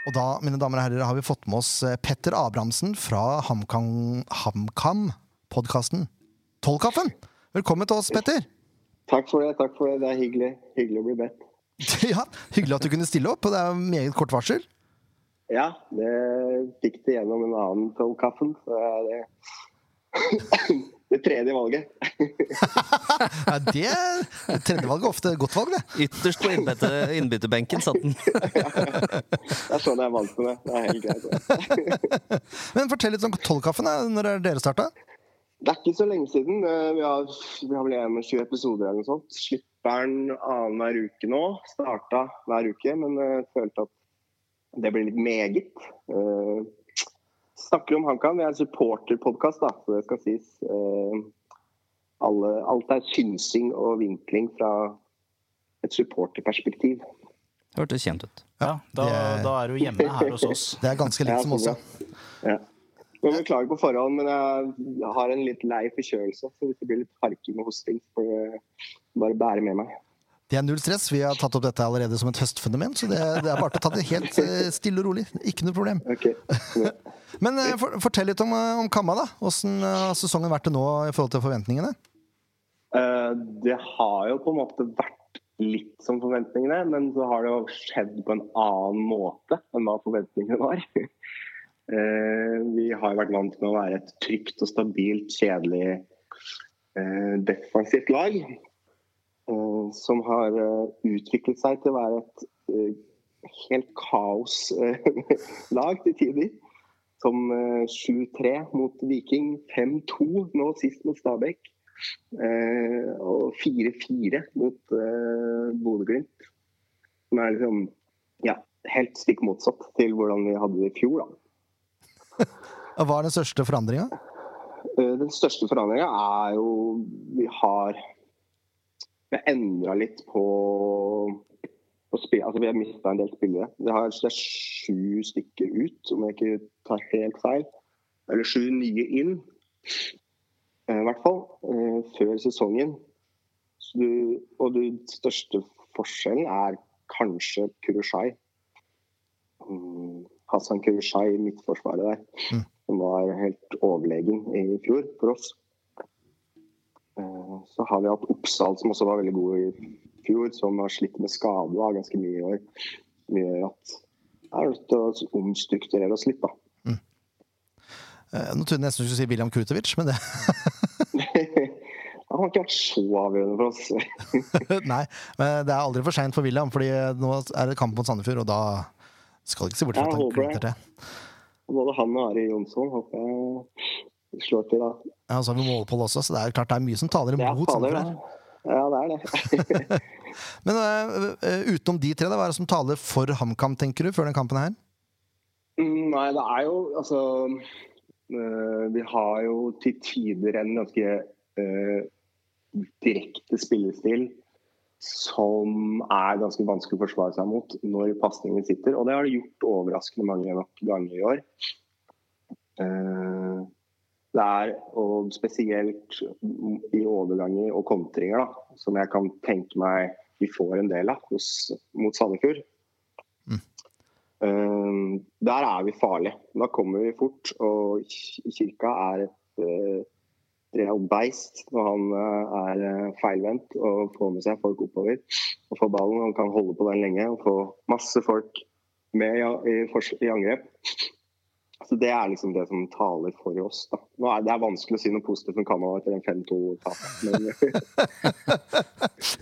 Speaker 1: Og da, mine damer og herrer, har vi fått med oss eh, Petter Abrahamsen fra HamKam-podkasten Tollkaffen. Velkommen til oss, Petter.
Speaker 5: Takk for det. takk for Det Det er hyggelig, hyggelig å bli bedt.
Speaker 1: Ja, Hyggelig at du kunne stille opp. og Det er meget kort varsel.
Speaker 5: Ja, det fikk det gjennom en annen Tollkaffen. Så er det det tredje valget.
Speaker 1: Ja, det Tredjevalget er ofte godt valg, det.
Speaker 2: Ytterst på innbytte- innbytterbenken satt den.
Speaker 5: Det er sånn jeg er vant med det. Det er helt greit. det.
Speaker 1: Men fortell litt om Tollkaffen. da. Når er dere starta?
Speaker 5: Det er ikke så lenge siden. Eh, Vi har, vi har vel 21 episoder eller noe sånt. Slipper den annenhver uke nå. Starta hver uke, men eh, følte at det ble litt meget. Eh, snakker om HamKam. Vi er en supporterpodkast, da, så det skal sies. Eh, alle, alt er synsing og vinkling fra et supporterperspektiv.
Speaker 2: Hørtes kjent ut.
Speaker 3: Ja, da,
Speaker 1: det-
Speaker 3: da er du hjemme her hos oss.
Speaker 1: Det er ganske likt som
Speaker 5: Ja, så
Speaker 1: også.
Speaker 5: bra. Ja. Jeg beklager på forhånd, men jeg har en litt lei forkjølelse. Så hvis det blir litt harking og hosting, så får det bare bære med meg.
Speaker 1: Det er null stress. Vi har tatt opp dette allerede som et høstfenomen, så det, det er bare å ta det helt eh, stille og rolig. Ikke noe problem.
Speaker 5: Ok.
Speaker 1: Men eh, for, fortell litt om, eh, om kamma, da. Åssen eh, har sesongen vært til nå i forhold til forventningene?
Speaker 5: Eh, Det har jo på en måte vært litt som forventningene, men så har det jo skjedd på en annen måte enn hva forventningene var. Eh, Vi har jo vært vant med å være et trygt og stabilt, kjedelig eh, defensivt lag. eh, Som har eh, utviklet seg til å være et eh, helt kaos-lag til tider. Som eh, 7-3 mot Viking, 5-2 nå sist mot Stabæk. Eh, og 4-4 mot eh, Bodø-Glimt. Som er liksom ja, helt stikk motsatt til hvordan vi hadde det i fjor. Da.
Speaker 1: Hva er den største forandringa?
Speaker 5: Eh, den største forandringa er jo vi har Vi har endra litt på, på spill, altså Vi har mista en del spillere. Vi har det er sju stykker ut, om jeg ikke tar helt feil. Eller sju nye inn, eh, i hvert fall. eh, Før sesongen. Så du, og den største forskjellen er kanskje Kurushai. Mm, Hassan Kurushai i midtforsvaret der som var helt overlegen i fjor for oss. Eh, Så har vi hatt Oppsal, som også var veldig god i fjor, som har slitt med skade da, ganske mye i år. Som gjør at vi er nødt til å omstrukturere oss litt, da.
Speaker 1: Eh, Nå trodde jeg nesten du skulle si William Kurtovic, men det
Speaker 5: Han har ikke vært så avgjørende for oss.
Speaker 1: Nei, men eh, det er aldri for seint for William, Fordi eh, nå er det kamp mot Sandefjord, og da skal du ikke se bort fra
Speaker 5: Ja,
Speaker 1: at han
Speaker 5: håper det.
Speaker 1: kliter til.
Speaker 5: Både han og Ari Jonsson håper jeg slår til. da.
Speaker 1: Ja, og så har vi målpoll også, så det er jo klart det er mye som taler
Speaker 5: Det er
Speaker 1: imot
Speaker 5: farlig,
Speaker 1: Sandefjord. her.
Speaker 5: da. Ja, det er det.
Speaker 1: Men øh, øh, utenom de tre, da, hva er det som taler for HamKam, tenker du, før den kampen her?
Speaker 5: Mm, Nei, det er jo altså øh, Vi har jo til tider en ganske øh, direkte spillestil som er ganske vanskelig å forsvare seg mot når pasningen sitter. Og det har det gjort overraskende mange nok ganger i år. Eh, Det er og spesielt i overganger og kontringer, da, som jeg kan tenke meg vi får en del av hos, mot Sandefjord. Eh, der er vi farlige. Da kommer vi fort. Og Ki- Kirka er et uh, real beist når han eh, er eh, feilvendt og får med seg folk oppover. Og får ballen. Han kan holde på den lenge og få masse folk med i, i, fors- i angrep. Så Det er liksom det som taler for oss. da. Nå er Det er vanskelig å si noe positivt om Canada etter den 5-2-tapet. Men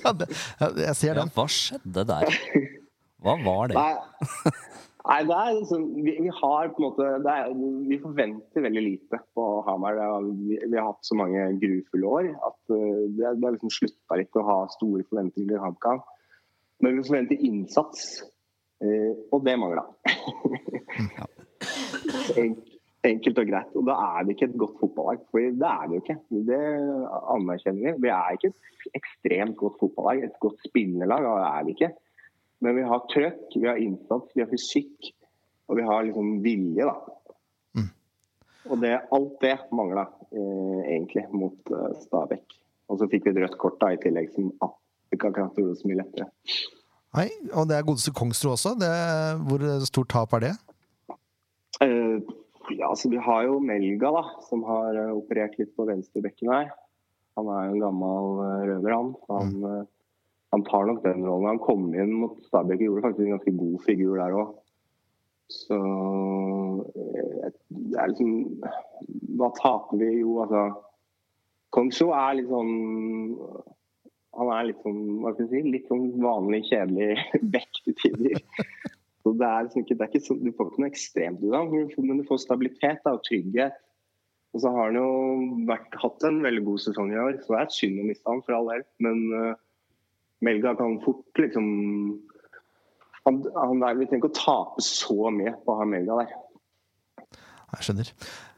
Speaker 1: Ja, det, ja, jeg ser
Speaker 2: Ja,
Speaker 1: den.
Speaker 2: hva skjedde der? Hva var det?
Speaker 5: Nei, nei det er liksom vi, vi har på en måte det er, Vi forventer veldig lite på Hamar. Det er- Vi, vi har hatt så mange grufulle år at eh, det det har liksom slutta litt å ha store forventninger til HamKam. Men vi forventer innsats, eh, og det mangla. Enkelt og greit. Og da er vi ikke et godt fotballag. For det er vi jo ikke. Det anerkjenner vi. Vi er ikke et ekstremt godt fotballag. Et godt spillerlag er vi ikke. Men vi har trøkk, vi har innsats, vi har fysikk, og vi har liksom vilje, da.
Speaker 1: Mm.
Speaker 5: Og det, alt det mangla eh, egentlig mot eh, Stabæk. Og så fikk vi et rødt kort da i tillegg, som ah, vi kan ikke gjorde det så mye lettere.
Speaker 1: Nei, og det er godeste Kongsrud også. Det, hvor stort tap er det?
Speaker 5: Eh, ja, altså vi har jo Melga, da, som har eh, operert litt på venstrebekken her. Han er jo en gammel eh, røver, han. Han, eh, han tar nok den rollen. Han kom inn mot Stabæk og gjorde faktisk en ganske god figur der òg. Så eh, det er liksom Hva taper vi? Jo, altså Kongsho er litt sånn Han er litt sånn, hva skal jeg si, litt sånn vanlig kjedelig bekk til tider. Så det er liksom ikke, det er ikke så, Du får ikke noe ekstremt ut av det, men du får stabilitet da, og trygghet. Og så har han jo vært, hatt en veldig god sesong i år, så det er synd å miste han for all del. Men eh, Melga kan fort liksom han, han er, Vi trenger ikke å tape så mye på å ha Melga der.
Speaker 1: Jeg skjønner.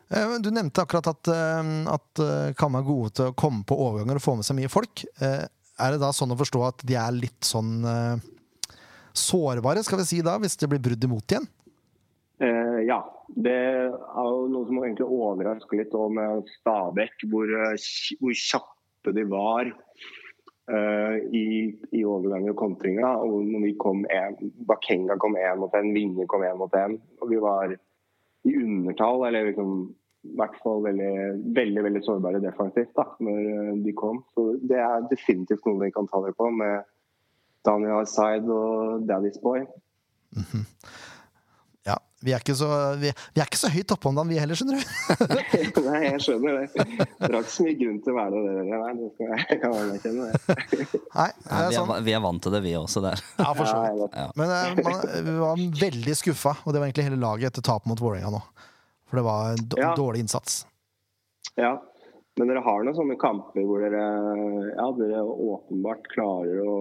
Speaker 1: Eh, men Du nevnte akkurat at, eh, at eh, Kamma er gode til å komme på overganger og få med seg mye folk. Eh, Er det da sånn å forstå at de er litt sånn eh, sårbare, skal vi si da, hvis det blir brudd imot igjen?
Speaker 5: Eh, ja. Det er jo noe som egentlig overrasker litt også med Stabæk, hvor, eh, kj- hvor kjappe de var eh, i, i overganger og kontringer. da. Og når vi kom en, Bakenga kom én mot én, Vinje kom én mot én. Og vi var i undertall, eller liksom, i hvert fall veldig, veldig, veldig sårbare defensivt da, når eh, de kom. Så det er definitivt noe vi kan ta det på med Daniel Asaid og Daddy's Boy.
Speaker 1: Ja, vi er ikke så, vi, vi er ikke så høyt oppe om dagen, vi heller, skjønner du.
Speaker 5: Nei, jeg skjønner det. Det var ikke så mye grunn til å være det. der. Nei, det skal jeg- jeg kan anerkjenne det.
Speaker 1: Nei, det
Speaker 2: Nei,
Speaker 1: er
Speaker 2: vi,
Speaker 1: sånn.
Speaker 2: er, vi er vant til det, vi også. der.
Speaker 1: Ja, for så
Speaker 5: Ja,
Speaker 1: vidt.
Speaker 5: jeg vet.
Speaker 1: Men eh, man vi var veldig skuffa, og det var egentlig hele laget etter tapet mot Vålerenga nå. For det var en d-
Speaker 5: Ja.
Speaker 1: dårlig innsats.
Speaker 5: ja. Men dere har noen sånne kamper hvor dere, ja, dere åpenbart klarer å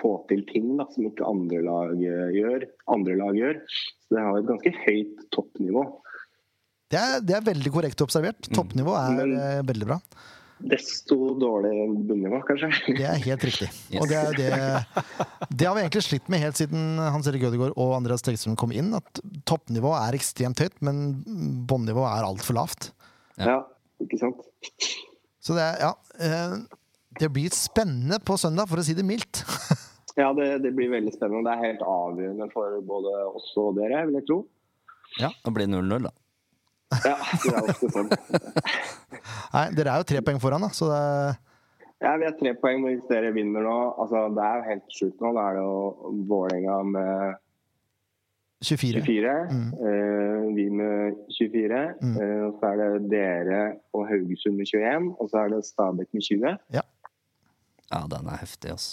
Speaker 5: få til ting da, som ikke andre lag eh, gjør. Andre lag gjør. Så dere har et ganske høyt toppnivå.
Speaker 1: Det er, det er veldig korrekt observert. Toppnivå er
Speaker 5: Mm. Men-
Speaker 1: eh, veldig bra.
Speaker 5: Desto dårlig bunnivå, kanskje.
Speaker 1: Det er helt riktig.
Speaker 2: Yes.
Speaker 1: Og det, er det, det har vi egentlig slitt med helt siden Hans Erik Ødegaard og Andreas Tegstrøm kom inn, at toppnivået er ekstremt høyt, men bånnivået er altfor lavt.
Speaker 2: Ja.
Speaker 5: Ja, ikke sant?
Speaker 1: Så det er, ja eh, Det blir spennende på søndag, for å si det mildt.
Speaker 5: Ja, det, det blir veldig spennende. Det er helt avgjørende for både oss og dere, vil jeg tro.
Speaker 2: Ja, Det blir 0-0, da.
Speaker 5: Ja, det er ofte sånn.
Speaker 1: Nei, dere er jo tre poeng foran, da, så det er
Speaker 5: Ja, vi har tre poeng, men hvis dere vinner nå altså, Det er jo helt sjukt nå. Da er det jo Vålerenga med
Speaker 1: 24.
Speaker 5: 24.
Speaker 2: Mm.
Speaker 5: eh, vi med 24.
Speaker 1: Mm.
Speaker 5: eh, og så er det dere og Haugesund med 21. Og så er det Stabæk med 20.
Speaker 2: Ja, den er heftig, ass.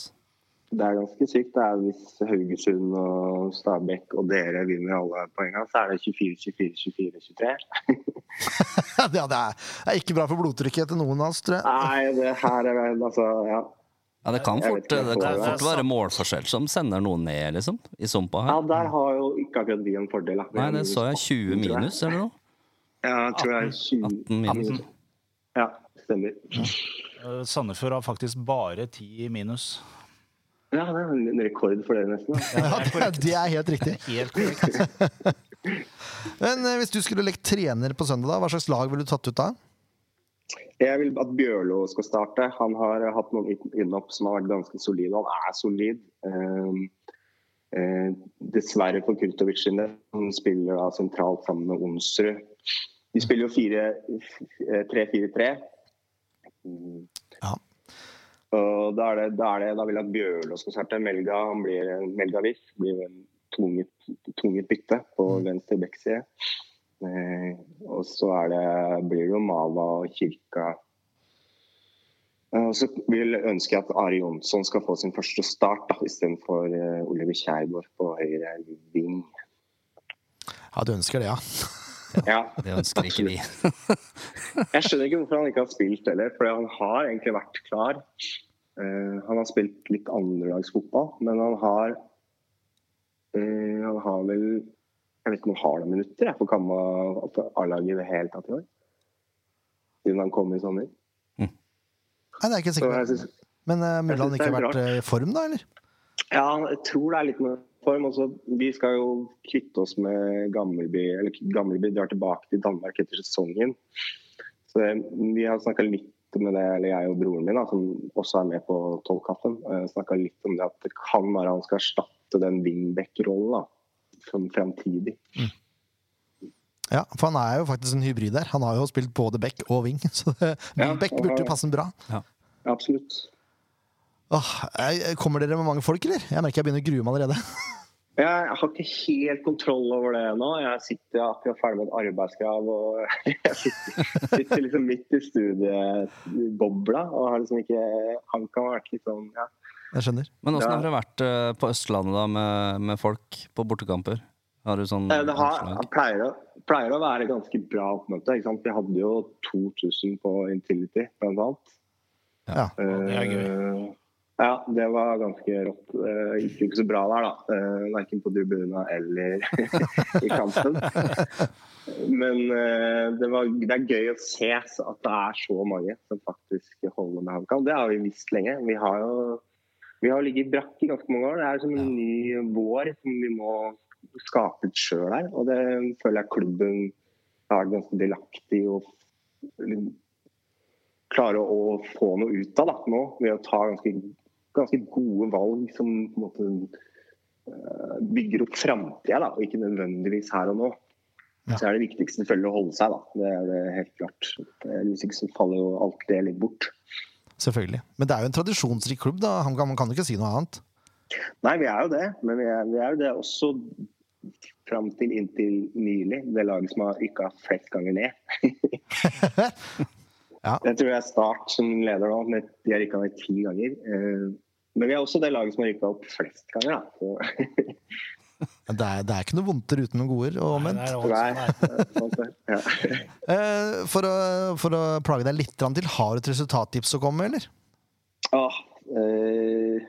Speaker 5: Det er ganske sykt. Det er hvis Haugesund og Stabæk og dere vinner alle poengene, så er det 24, 24, 24, 23.
Speaker 1: ja, det er, det er ikke bra for blodtrykket til noen av oss, tror jeg.
Speaker 5: Nei, det her er vel altså Ja,
Speaker 2: Ja, det kan
Speaker 5: Jeg
Speaker 2: fort,
Speaker 5: vet ikke, jeg
Speaker 2: det
Speaker 5: tror
Speaker 2: kan
Speaker 5: det.
Speaker 2: fort være målforskjell som sender noen ned, liksom. I sumpa
Speaker 5: ja
Speaker 2: her.
Speaker 5: der har jo ikke akkurat vi en fordel. Da. Vi
Speaker 2: Nei,
Speaker 5: har
Speaker 2: det
Speaker 5: minus
Speaker 2: så jeg 20
Speaker 5: 18, tror jeg.
Speaker 2: minus, eller noe.
Speaker 5: Ja, jeg tror jeg er 20.
Speaker 2: 18 minus.
Speaker 5: Ja, stemmer.
Speaker 3: Eh, Sandefjord har faktisk bare ti i minus.
Speaker 5: Ja, det er en rekord for dere, nesten. da.
Speaker 1: Ja, det, det er helt riktig.
Speaker 3: Helt korrekt.
Speaker 1: Men eh, hvis du skulle lekt trener på søndag, da, hva slags lag ville du tatt ut da?
Speaker 5: Jeg vil at Bjørlo skal starte. Han har hatt noen inn- innhopp som har vært ganske solide. Han er solid. Ehm, eh, dessverre for Kurtovic sin del. Han spiller da sentralt sammen med Onsrud. De spiller jo fire- eh, 3-4-3. Mm.
Speaker 1: Ja.
Speaker 5: Og da, er det, da, er det, da vil jeg at Bjørlo skal starte. Melga han blir, Melga Wiss blir en tvunget, tvunget bytte
Speaker 1: Mm.
Speaker 5: på venstre bekkside. Eh, og så er det, blir det jo Mava og Kirka. Eh, Og så vil jeg ønske at Ari Jonsson skal få sin første start da, istedenfor eh, Oliver Kjærgaard på høyre ving.
Speaker 1: Ja, du ønsker det, ja.
Speaker 5: Ja,
Speaker 2: Det ønsker ikke vi.
Speaker 5: jeg skjønner ikke hvorfor han ikke har spilt heller, for han har egentlig vært klar. Eh, han har spilt litt andrelagsfotball, men han har eh, Han har vel Jeg vet ikke om han har noen minutter jeg, på Kamma for A-laget i det hele tatt i år. Siden han kom i sommer.
Speaker 1: Nei, det er ikke
Speaker 5: Så
Speaker 1: sikkert.
Speaker 5: jeg synes,
Speaker 1: Men uh, mulig han
Speaker 5: synes
Speaker 1: ikke
Speaker 5: det
Speaker 1: har
Speaker 5: er
Speaker 1: vært eh, i form, da, eller?
Speaker 5: Ja, jeg tror det er litt med form. Også, vi skal jo kvitte oss med Gammelby. Eller Gammelby drar tilbake til Danmark etter sesongen. Så eh, vi har snakka litt med det, eller jeg og broren min, da, som også er med på Tollkaffen, snakka litt om det at det kan være han skal erstatte den wingback-rollen da, som fremtidig.
Speaker 1: Ja, for han er jo faktisk en hybrid der. Han har jo spilt både back og wing, så det-
Speaker 5: Ja,
Speaker 1: wingback
Speaker 5: han har
Speaker 1: burde jo
Speaker 5: det.
Speaker 1: passe ham bra.
Speaker 5: Absolutt.
Speaker 1: Åh, jeg- kommer dere med mange folk, eller? Jeg merker jeg begynner å grue meg allerede.
Speaker 5: Jeg har ikke helt kontroll over det nå. Jeg sitter akkurat ferdig med et arbeidskrav. og Jeg sitter, sitter liksom midt i studiebobla. og har liksom ikke, Han kan ha vært litt sånn ja.
Speaker 1: Jeg skjønner.
Speaker 2: Men åssen har det vært eh, på Østlandet da med, med folk på bortekamper? Har du sånn
Speaker 5: Eh, Det har,
Speaker 2: anslag?
Speaker 5: pleier, å, pleier å være ganske bra oppmøte. ikke sant? Vi hadde jo 2000 på Intility, blant annet.
Speaker 1: Ja.
Speaker 3: det er gøy.
Speaker 5: Eh, Ja, det var ganske rått. Eh, Gikk jo ikke så bra der, da. Eh, Verken på tribuna eller i kampen. Men eh, det, var, det er gøy å se s- at det er så mange som faktisk holder med HamKam. Det har vi visst lenge. Vi har jo vi har ligget brakk i ganske mange år. Det er som en ny vår som vi må skape ut sjøl her. Og det føler jeg klubben har vært ganske delaktig i å f- klare å få noe ut av da, nå, ved å ta ganske, ganske gode valg som på en måte eh, bygger opp framtida, og ikke nødvendigvis her og nå.
Speaker 1: Ja.
Speaker 5: Så er det viktigste selvfølgelig å holde seg, da. Det er det helt klart. Hvis ikke så faller jo alt det litt bort.
Speaker 1: Selvfølgelig. Men det er jo en tradisjonsrik klubb, da. Han kan, man kan jo ikke si noe annet.
Speaker 5: Nei, vi er jo det, men vi er, vi er jo det også fram til inntil nylig. Det laget som har rykka flest ganger ned.
Speaker 1: Ja.
Speaker 5: Jeg tror jeg er Start som leder nå. Med, de har rykka ned ti ganger. Eh, Men vi er også det laget som har rykka opp flest ganger. Da. Så,
Speaker 1: Men Det er, det er ikke noe vondter uten noen goder, og
Speaker 3: Nei,
Speaker 1: omvendt.
Speaker 3: det er
Speaker 5: det
Speaker 3: også- nei.
Speaker 5: er- sånn det er. ja.
Speaker 1: Eh, for, å, for å plage deg litt grann til, har du et resultattips å komme med, eller?
Speaker 5: Åh, Ah, eh,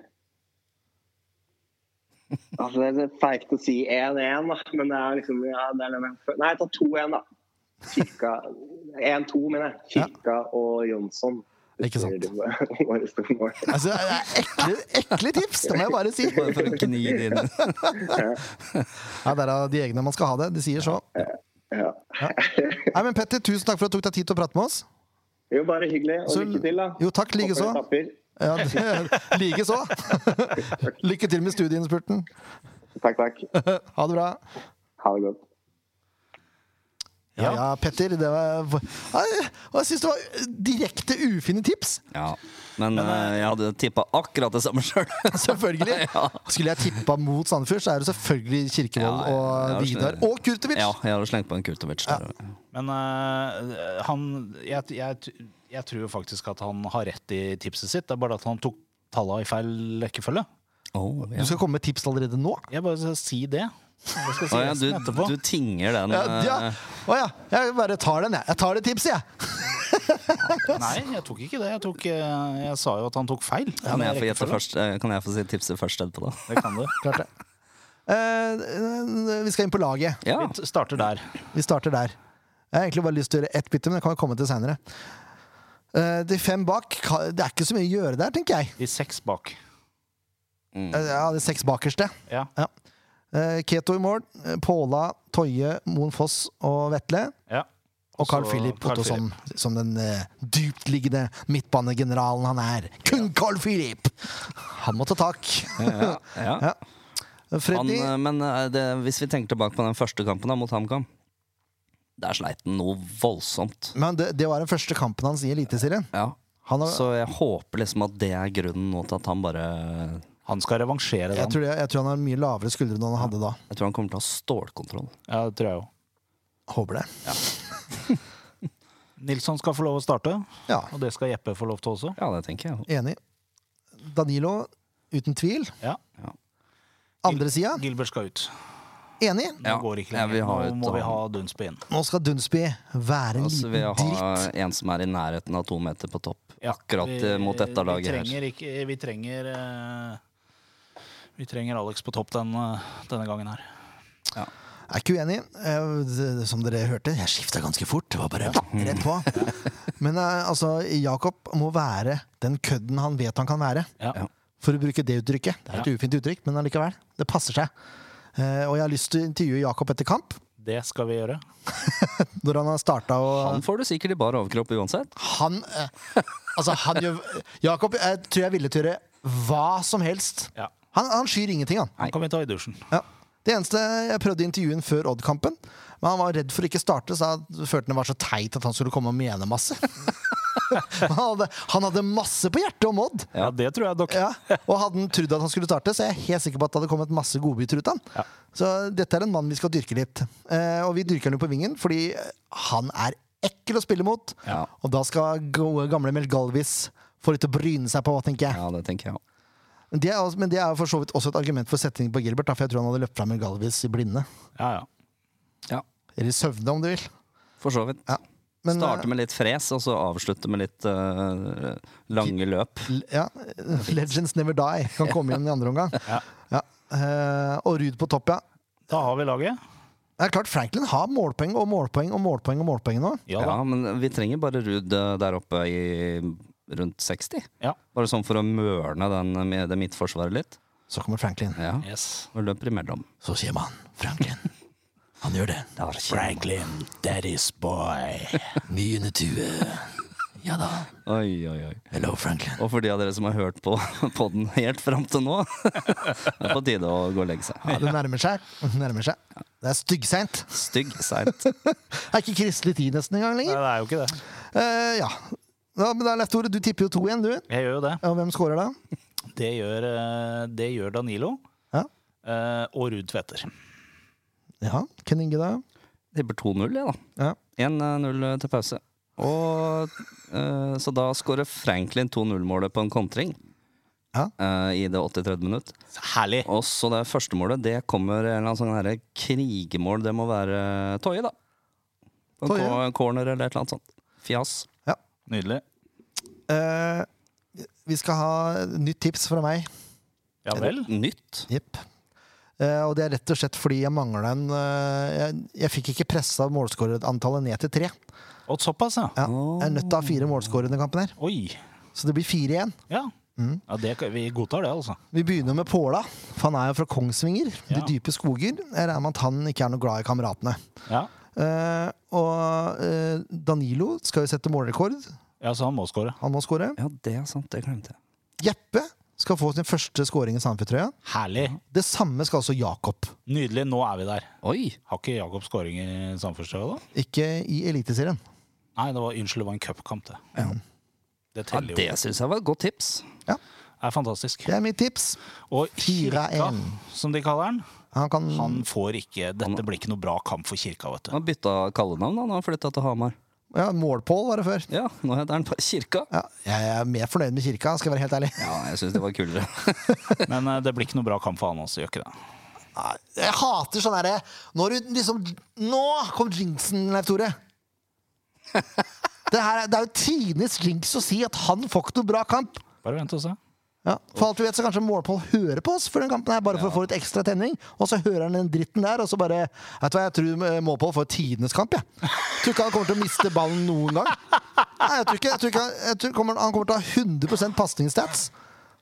Speaker 5: altså, det er feigt å si 1-1, da. Men det er liksom ja, det er den jeg føler- Nei, ta 2-1, da. Kirka 1-2, mener jeg. Kirka og Jonsson.
Speaker 1: Ikke sant.
Speaker 5: Det var- var det store målet.
Speaker 1: Altså, det er ekle, ekle tips, det må jeg bare si!
Speaker 2: Bare for å gni det inn.
Speaker 1: Ja, det er av de egne man skal ha det. De sier så.
Speaker 5: Ja.
Speaker 1: Nei, men Petter, tusen takk for at du tok deg tid til å prate med oss.
Speaker 5: Jo, bare hyggelig. Og
Speaker 1: Så-
Speaker 5: lykke til, da.
Speaker 1: Jo, takk, likeså.
Speaker 5: Håper dere tapper.
Speaker 1: Ja, Likeså. Lykke til med studieinnspurten.
Speaker 5: Takk, takk.
Speaker 1: Ha det bra.
Speaker 5: Ha det godt.
Speaker 1: Ja, ja, Petter. Det var, Nei, jeg syns det var direkte ufine tips.
Speaker 2: Ja. Men eh, jeg hadde tippa akkurat det samme sjøl.
Speaker 1: Selvfølgelig.
Speaker 2: Ja.
Speaker 1: Skulle jeg tippa mot Sandefjord, så er det selvfølgelig Kirkevold
Speaker 2: Ja, ja, ja,
Speaker 1: og
Speaker 2: jeg skjønner.
Speaker 1: Vidar. Og Kurtovic!
Speaker 2: Ja, jeg hadde slengt på en Kurtovic. der.
Speaker 3: Men eh, han jeg, jeg, jeg tror faktisk at han har rett i tipset sitt. Det er bare at han tok tallene i feil rekkefølge.
Speaker 2: Oh, ja.
Speaker 1: Du skal komme med tips allerede nå?
Speaker 3: Jeg bare skal si det. Jeg skal si
Speaker 2: Å, ja, du,
Speaker 3: resten etterpå.
Speaker 2: du tinger den
Speaker 1: Ja, ja.
Speaker 2: eh,
Speaker 1: Å ja. Jeg bare tar den, jeg. Jeg tar det tipset, jeg.
Speaker 3: Nei, jeg tok ikke det. Jeg, tok, eh, jeg sa jo at han tok feil.
Speaker 2: Kan jeg, få gjette
Speaker 3: Rekkefølge.
Speaker 2: først, eh, kan jeg få si tipset først etterpå, da?
Speaker 3: Det kan du.
Speaker 1: Klart det. Eh, vi skal inn på laget.
Speaker 2: Ja.
Speaker 3: Vi starter der.
Speaker 1: Vi starter der. Jeg har egentlig bare lyst til å gjøre ett bytte, men det kan vi komme til seinere. de fem bak, ka- det er ikke så mye å gjøre der, tenker jeg.
Speaker 3: De seks bak.
Speaker 1: Eh, ja, de seks bakerste.
Speaker 3: Ja.
Speaker 1: Ja. Eh, Keto i mål. eh, Påla, Toje, Moen Foss og Vetle.
Speaker 3: ja.
Speaker 1: Og Carl
Speaker 3: Så
Speaker 1: Philip
Speaker 3: Carl
Speaker 1: Ottosson, som den eh, dyptliggende midtbanegeneralen han er. Kun Carl Philip! Han må ta tak.
Speaker 2: Ja, ja.
Speaker 1: Ja.
Speaker 2: Han,
Speaker 1: Freddy
Speaker 2: eh, men eh, det, hvis vi tenker tilbake på den første kampen da, mot HamKam Der sleit han noe voldsomt.
Speaker 1: Men det, det var den første kampen hans i Eliteserien.
Speaker 2: Ja.
Speaker 1: Han har-
Speaker 2: Så jeg håper liksom at det er grunnen nå til at han bare
Speaker 3: Han skal revansjere
Speaker 1: Jeg
Speaker 3: den.
Speaker 1: tror, det, jeg tror han har mye lavere skuldre enn han hadde da.
Speaker 2: Jeg tror han kommer til å ha stålkontroll.
Speaker 3: Ja, det tror jeg jo.
Speaker 1: Håper det.
Speaker 3: Nilsson skal få lov å starte,
Speaker 1: Ja,
Speaker 3: og det skal Jeppe få lov til også.
Speaker 2: Ja, det tenker jeg.
Speaker 1: Enig. Danilo, uten tvil.
Speaker 3: Ja.
Speaker 1: Andre sida,
Speaker 3: Gilbert skal ut.
Speaker 1: enig.
Speaker 3: Nå
Speaker 2: Ja.
Speaker 3: går ikke
Speaker 2: Ja, vi
Speaker 3: lenger.
Speaker 2: har et sånn
Speaker 3: Nå må vi
Speaker 2: annet.
Speaker 3: ha Dunsby inn.
Speaker 1: Nå skal Dunsby være en
Speaker 2: Altså, vi
Speaker 1: liten dritt.
Speaker 2: har en som er i nærheten av to meter på topp.
Speaker 3: Ja,
Speaker 2: Akkurat
Speaker 3: vi-
Speaker 2: eh, mot dette
Speaker 3: vi
Speaker 2: laget her.
Speaker 3: trenger Ikke, vi trenger eh, Vi trenger Alex på topp den, eh, denne gangen her.
Speaker 1: Jeg er ikke uenig. Eh, det- Som dere hørte, jeg skifta ganske fort. Det var bare rett på. Men eh, altså, Jakob må være den kødden han vet han kan være.
Speaker 3: Ja.
Speaker 2: Ja.
Speaker 1: For å bruke det uttrykket. Det er et ufint uttrykk, men allikevel. Det passer seg. Eh, Og jeg har lyst til å intervjue Jakob etter kamp,
Speaker 3: Det skal vi gjøre.
Speaker 1: når han har starta å
Speaker 2: Han får du sikkert i bar overkropp uansett.
Speaker 1: Han eh, Altså, han gjør Jakob, jeg tror jeg ville til å gjøre hva som helst.
Speaker 3: Ja.
Speaker 1: Han, han skyr ingenting, han.
Speaker 3: Han kan vi ta i dusjen.
Speaker 1: Ja. Det eneste jeg prøvde å intervjue ham før Odd-kampen, men han var redd for å ikke starte, så jeg følte det var så teit at han skulle komme og mene masse. Men han, hadde, han hadde masse på hjertet om Odd.
Speaker 3: Ja, det tror jeg dere
Speaker 1: Ja, og hadde han trodd at han skulle starte, så er jeg helt sikker på at det hadde kommet masse godbiter ut av han.
Speaker 3: Ja.
Speaker 1: Så dette er en mann vi skal dyrke litt. Eh, og vi dyrker han jo på vingen fordi han er ekkel å spille mot.
Speaker 2: Ja.
Speaker 1: Og da skal gode, gamle Melgalvis få litt å bryne seg på, tenker jeg.
Speaker 2: Ja, det tenker jeg.
Speaker 1: Men det er også- men det er jo for så vidt også et argument for setting på Gilbert, da, for jeg tror han hadde løpt fra Melgalvis i blinde.
Speaker 3: Ja, ja.
Speaker 2: Ja,
Speaker 1: Eller i søvne, om du vil.
Speaker 2: for så vidt.
Speaker 1: Ja. Men,
Speaker 2: Starte
Speaker 1: eh,
Speaker 2: med litt fres, og så avslutte med litt eh, lange løp.
Speaker 1: eh, l- ja, Legends never die kan komme inn i andre omgang.
Speaker 3: Ja.
Speaker 1: Ja. Eh, og Ruud på topp, ja.
Speaker 3: Da har vi laget.
Speaker 1: Det er klart Franklin har målpoeng og målpoeng og målpoeng og målpoeng nå.
Speaker 3: Ja
Speaker 2: Ja,
Speaker 3: da.
Speaker 2: men vi trenger bare Ruud eh, der oppe i rundt 60.
Speaker 3: Ja.
Speaker 2: Bare sånn for å mørne den, eh, med det midtforsvaret litt.
Speaker 1: Så kommer Franklin.
Speaker 2: Ja,
Speaker 3: Yes.
Speaker 2: Og løper imellom.
Speaker 1: Så sier man Franklin. Han gjør det. Franklin, daddy's boy. Mye tue. Ja da.
Speaker 2: Oi, oi, oi.
Speaker 1: Hello, Franklin.
Speaker 2: Og for de av dere som har hørt på, på den helt fram til nå, det er på tide å gå og legge seg.
Speaker 1: Ja, det nærmer seg. Det nærmer seg. Det er styggseint.
Speaker 2: Stygg, seint.
Speaker 1: Det er ikke kristelig tid nesten engang
Speaker 3: Nei,
Speaker 1: lenger.
Speaker 3: det er jo ikke det.
Speaker 1: Eh, ja. ja. Men det er lett, Tore. Du tipper jo to igjen, du.
Speaker 3: Jeg gjør jo det.
Speaker 1: Og hvem scorer da?
Speaker 3: Det gjør, eh, det gjør Danilo.
Speaker 1: Ja.
Speaker 3: eh, Og Ruud Tveter.
Speaker 1: Ja, Ken Inge, da?
Speaker 2: Tipper 2-0, jeg, da.
Speaker 1: Ja.
Speaker 2: 1-0 eh, til pause. Og eh, Så da skårer Franklin 2-0-målet på en kontring
Speaker 1: Ja.
Speaker 2: eh, i det 83. minutt.
Speaker 3: Herlig.
Speaker 2: Og så det første målet, det kommer en eller annen sånn herre krigemål. Det må være Toje, da. En
Speaker 1: Toje.
Speaker 2: ko- corner eller et eller annet sånt. Fjas.
Speaker 3: Nydelig.
Speaker 1: Eh, vi skal ha nytt tips fra meg.
Speaker 3: Ja vel.
Speaker 2: Nytt.
Speaker 1: Jepp. Eh, og det er rett og slett fordi jeg mangla en eh, jeg, jeg fikk ikke pressa målskårerantallet ned til tre.
Speaker 3: Og såpass, ja.
Speaker 1: Ja, jeg er nødt til å ha fire målskårere i denne kampen, her
Speaker 3: Oi.
Speaker 1: så det blir fire igjen.
Speaker 3: Ja. ja det, kan- vi godtar det, altså.
Speaker 1: Vi begynner med Påla, for han er jo fra Kongsvinger.
Speaker 3: Ja.
Speaker 1: De dype skoger. Jeg regner med at han ikke er noe glad i kameratene.
Speaker 3: Ja.
Speaker 1: Eh, og eh, Danilo skal jo sette målrekord.
Speaker 3: ja, så han må score.
Speaker 1: Han må skåre.
Speaker 2: Ja, det er sant. Det glemte jeg.
Speaker 1: Jeppe skal få sin første scoring i Sandefjord-trøya.
Speaker 3: Herlig.
Speaker 1: Det samme skal også Jakob.
Speaker 3: Nydelig. Nå er vi der.
Speaker 2: Oi!
Speaker 3: Har ikke Jakob scoring i Samfunnstrøya, da?
Speaker 1: Ikke i Eliteserien.
Speaker 3: Nei, det var, unnskyld, det var en cupkamp, det. Det
Speaker 2: Ja,
Speaker 3: teller jo.
Speaker 2: det syns jeg var et godt tips.
Speaker 3: Det er fantastisk.
Speaker 1: Det er mitt tips.
Speaker 3: Og
Speaker 1: Fire er
Speaker 3: Kirka,
Speaker 1: en.
Speaker 3: som de kaller den,
Speaker 1: Han kan
Speaker 3: han får ikke Dette blir ikke noe bra kamp for Kirka, vet du.
Speaker 2: Han bytta kallenavn da han flytta til Hamar.
Speaker 1: Ja, Målpål var det før.
Speaker 2: Ja, nå heter han bare Kirka.
Speaker 1: Ja, jeg er mer fornøyd med kirka, skal jeg være helt ærlig.
Speaker 2: Ja, jeg syns det var kulere.
Speaker 3: Men eh, det blir ikke noe bra kamp for han også, gjør ikke det?
Speaker 1: Nei, Jeg hater sånn herre Når du liksom Nå kom jinxen, Leif Tore! Det, her, er- det er jo tidenes jinx å si at han får ikke noe bra kamp.
Speaker 3: Bare vent og se.
Speaker 1: Ja, for alt vi vet, så kanskje Målpål hører på oss før den kampen her, bare for å få litt ekstra tenning. Og så hører han den dritten der, og så bare Vet du hva, jeg tror Målpål får tidenes kamp, jeg. Ja. Tror ikke han kommer til å miste ballen noen gang. Nei, jeg tror ikke, jeg tror ikke han- jeg tror kommer, Han kommer til å ha 100 pasningsstats.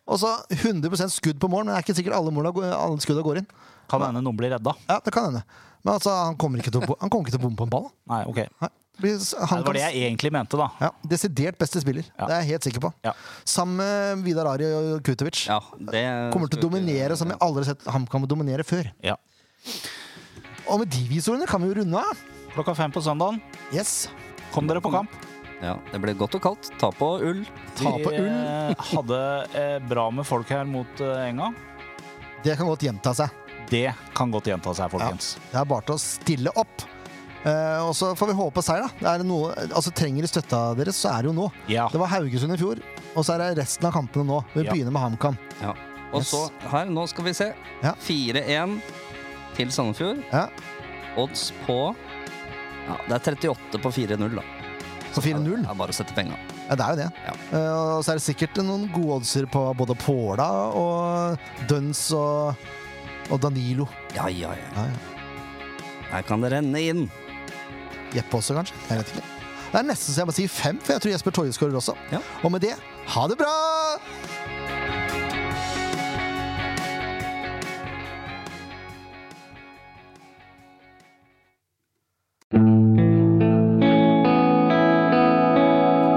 Speaker 1: Og så 100 skudd på mål, men det er ikke sikkert alle, målene går- alle skuddene går inn.
Speaker 3: Kan hende noen blir redda.
Speaker 1: Ja, det kan hende. Men altså, han kommer ikke til å, bo- han kommer ikke til å bomme på en ball. da.
Speaker 3: Nei, ok.
Speaker 1: Nei. Blir- Han
Speaker 3: Nei, det var
Speaker 1: kan-
Speaker 3: det jeg egentlig mente, da.
Speaker 1: ja, desidert beste spiller.
Speaker 3: Ja.
Speaker 1: Det er jeg helt sikker på.
Speaker 3: Ja.
Speaker 1: Sammen med Vidar Ari og Kutovic.
Speaker 2: Ja, det
Speaker 1: Kommer til å dominere som jeg aldri har sett ham kan dominere før.
Speaker 3: Ja.
Speaker 1: Og med de visordene kan vi jo runde av.
Speaker 3: Klokka fem på søndagen.
Speaker 1: Yes.
Speaker 3: Kom dere på kamp.
Speaker 2: Ja, det ble godt og kaldt. Ta på ull.
Speaker 1: Ta på
Speaker 3: Vi
Speaker 1: ull.
Speaker 3: eh, hadde eh, bra med folk her mot eh, enga.
Speaker 1: Det kan godt gjenta seg.
Speaker 3: Det kan godt gjenta seg, folkens.
Speaker 1: Det er bare til å stille opp. Eh, og så får vi håpe på seier, da. Det er noe, altså, trenger de støtta deres, så er det jo nå.
Speaker 3: Ja.
Speaker 1: Det var Haugesund i fjor, og så er det resten av kampene nå. Vi
Speaker 3: Ja.
Speaker 1: begynner med HamKam.
Speaker 2: Ja. Og
Speaker 1: Yes.
Speaker 2: så her, nå skal vi se.
Speaker 1: Ja.
Speaker 2: 4-1 til Sandefjord.
Speaker 1: Ja.
Speaker 2: Odds på Ja, det er 38 på 4-0, da.
Speaker 1: Så 4-0.
Speaker 2: Det er bare å sette penga.
Speaker 1: Ja, det er jo det.
Speaker 2: Ja.
Speaker 1: Eh, og så er det sikkert noen gode oddser på både Påla og Duns og, og Danilo.
Speaker 2: Ja, ja, ja.
Speaker 1: Ja, ja.
Speaker 2: Her kan det renne inn.
Speaker 1: Jeppe også, kanskje. Jeg vet ikke. Det er nesten så jeg må si fem, for jeg tror Jesper Toje skårer også.
Speaker 2: Ja.
Speaker 1: Og med det, ha det bra!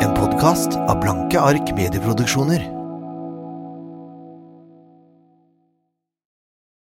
Speaker 1: En podkast av Blanke ark medieproduksjoner.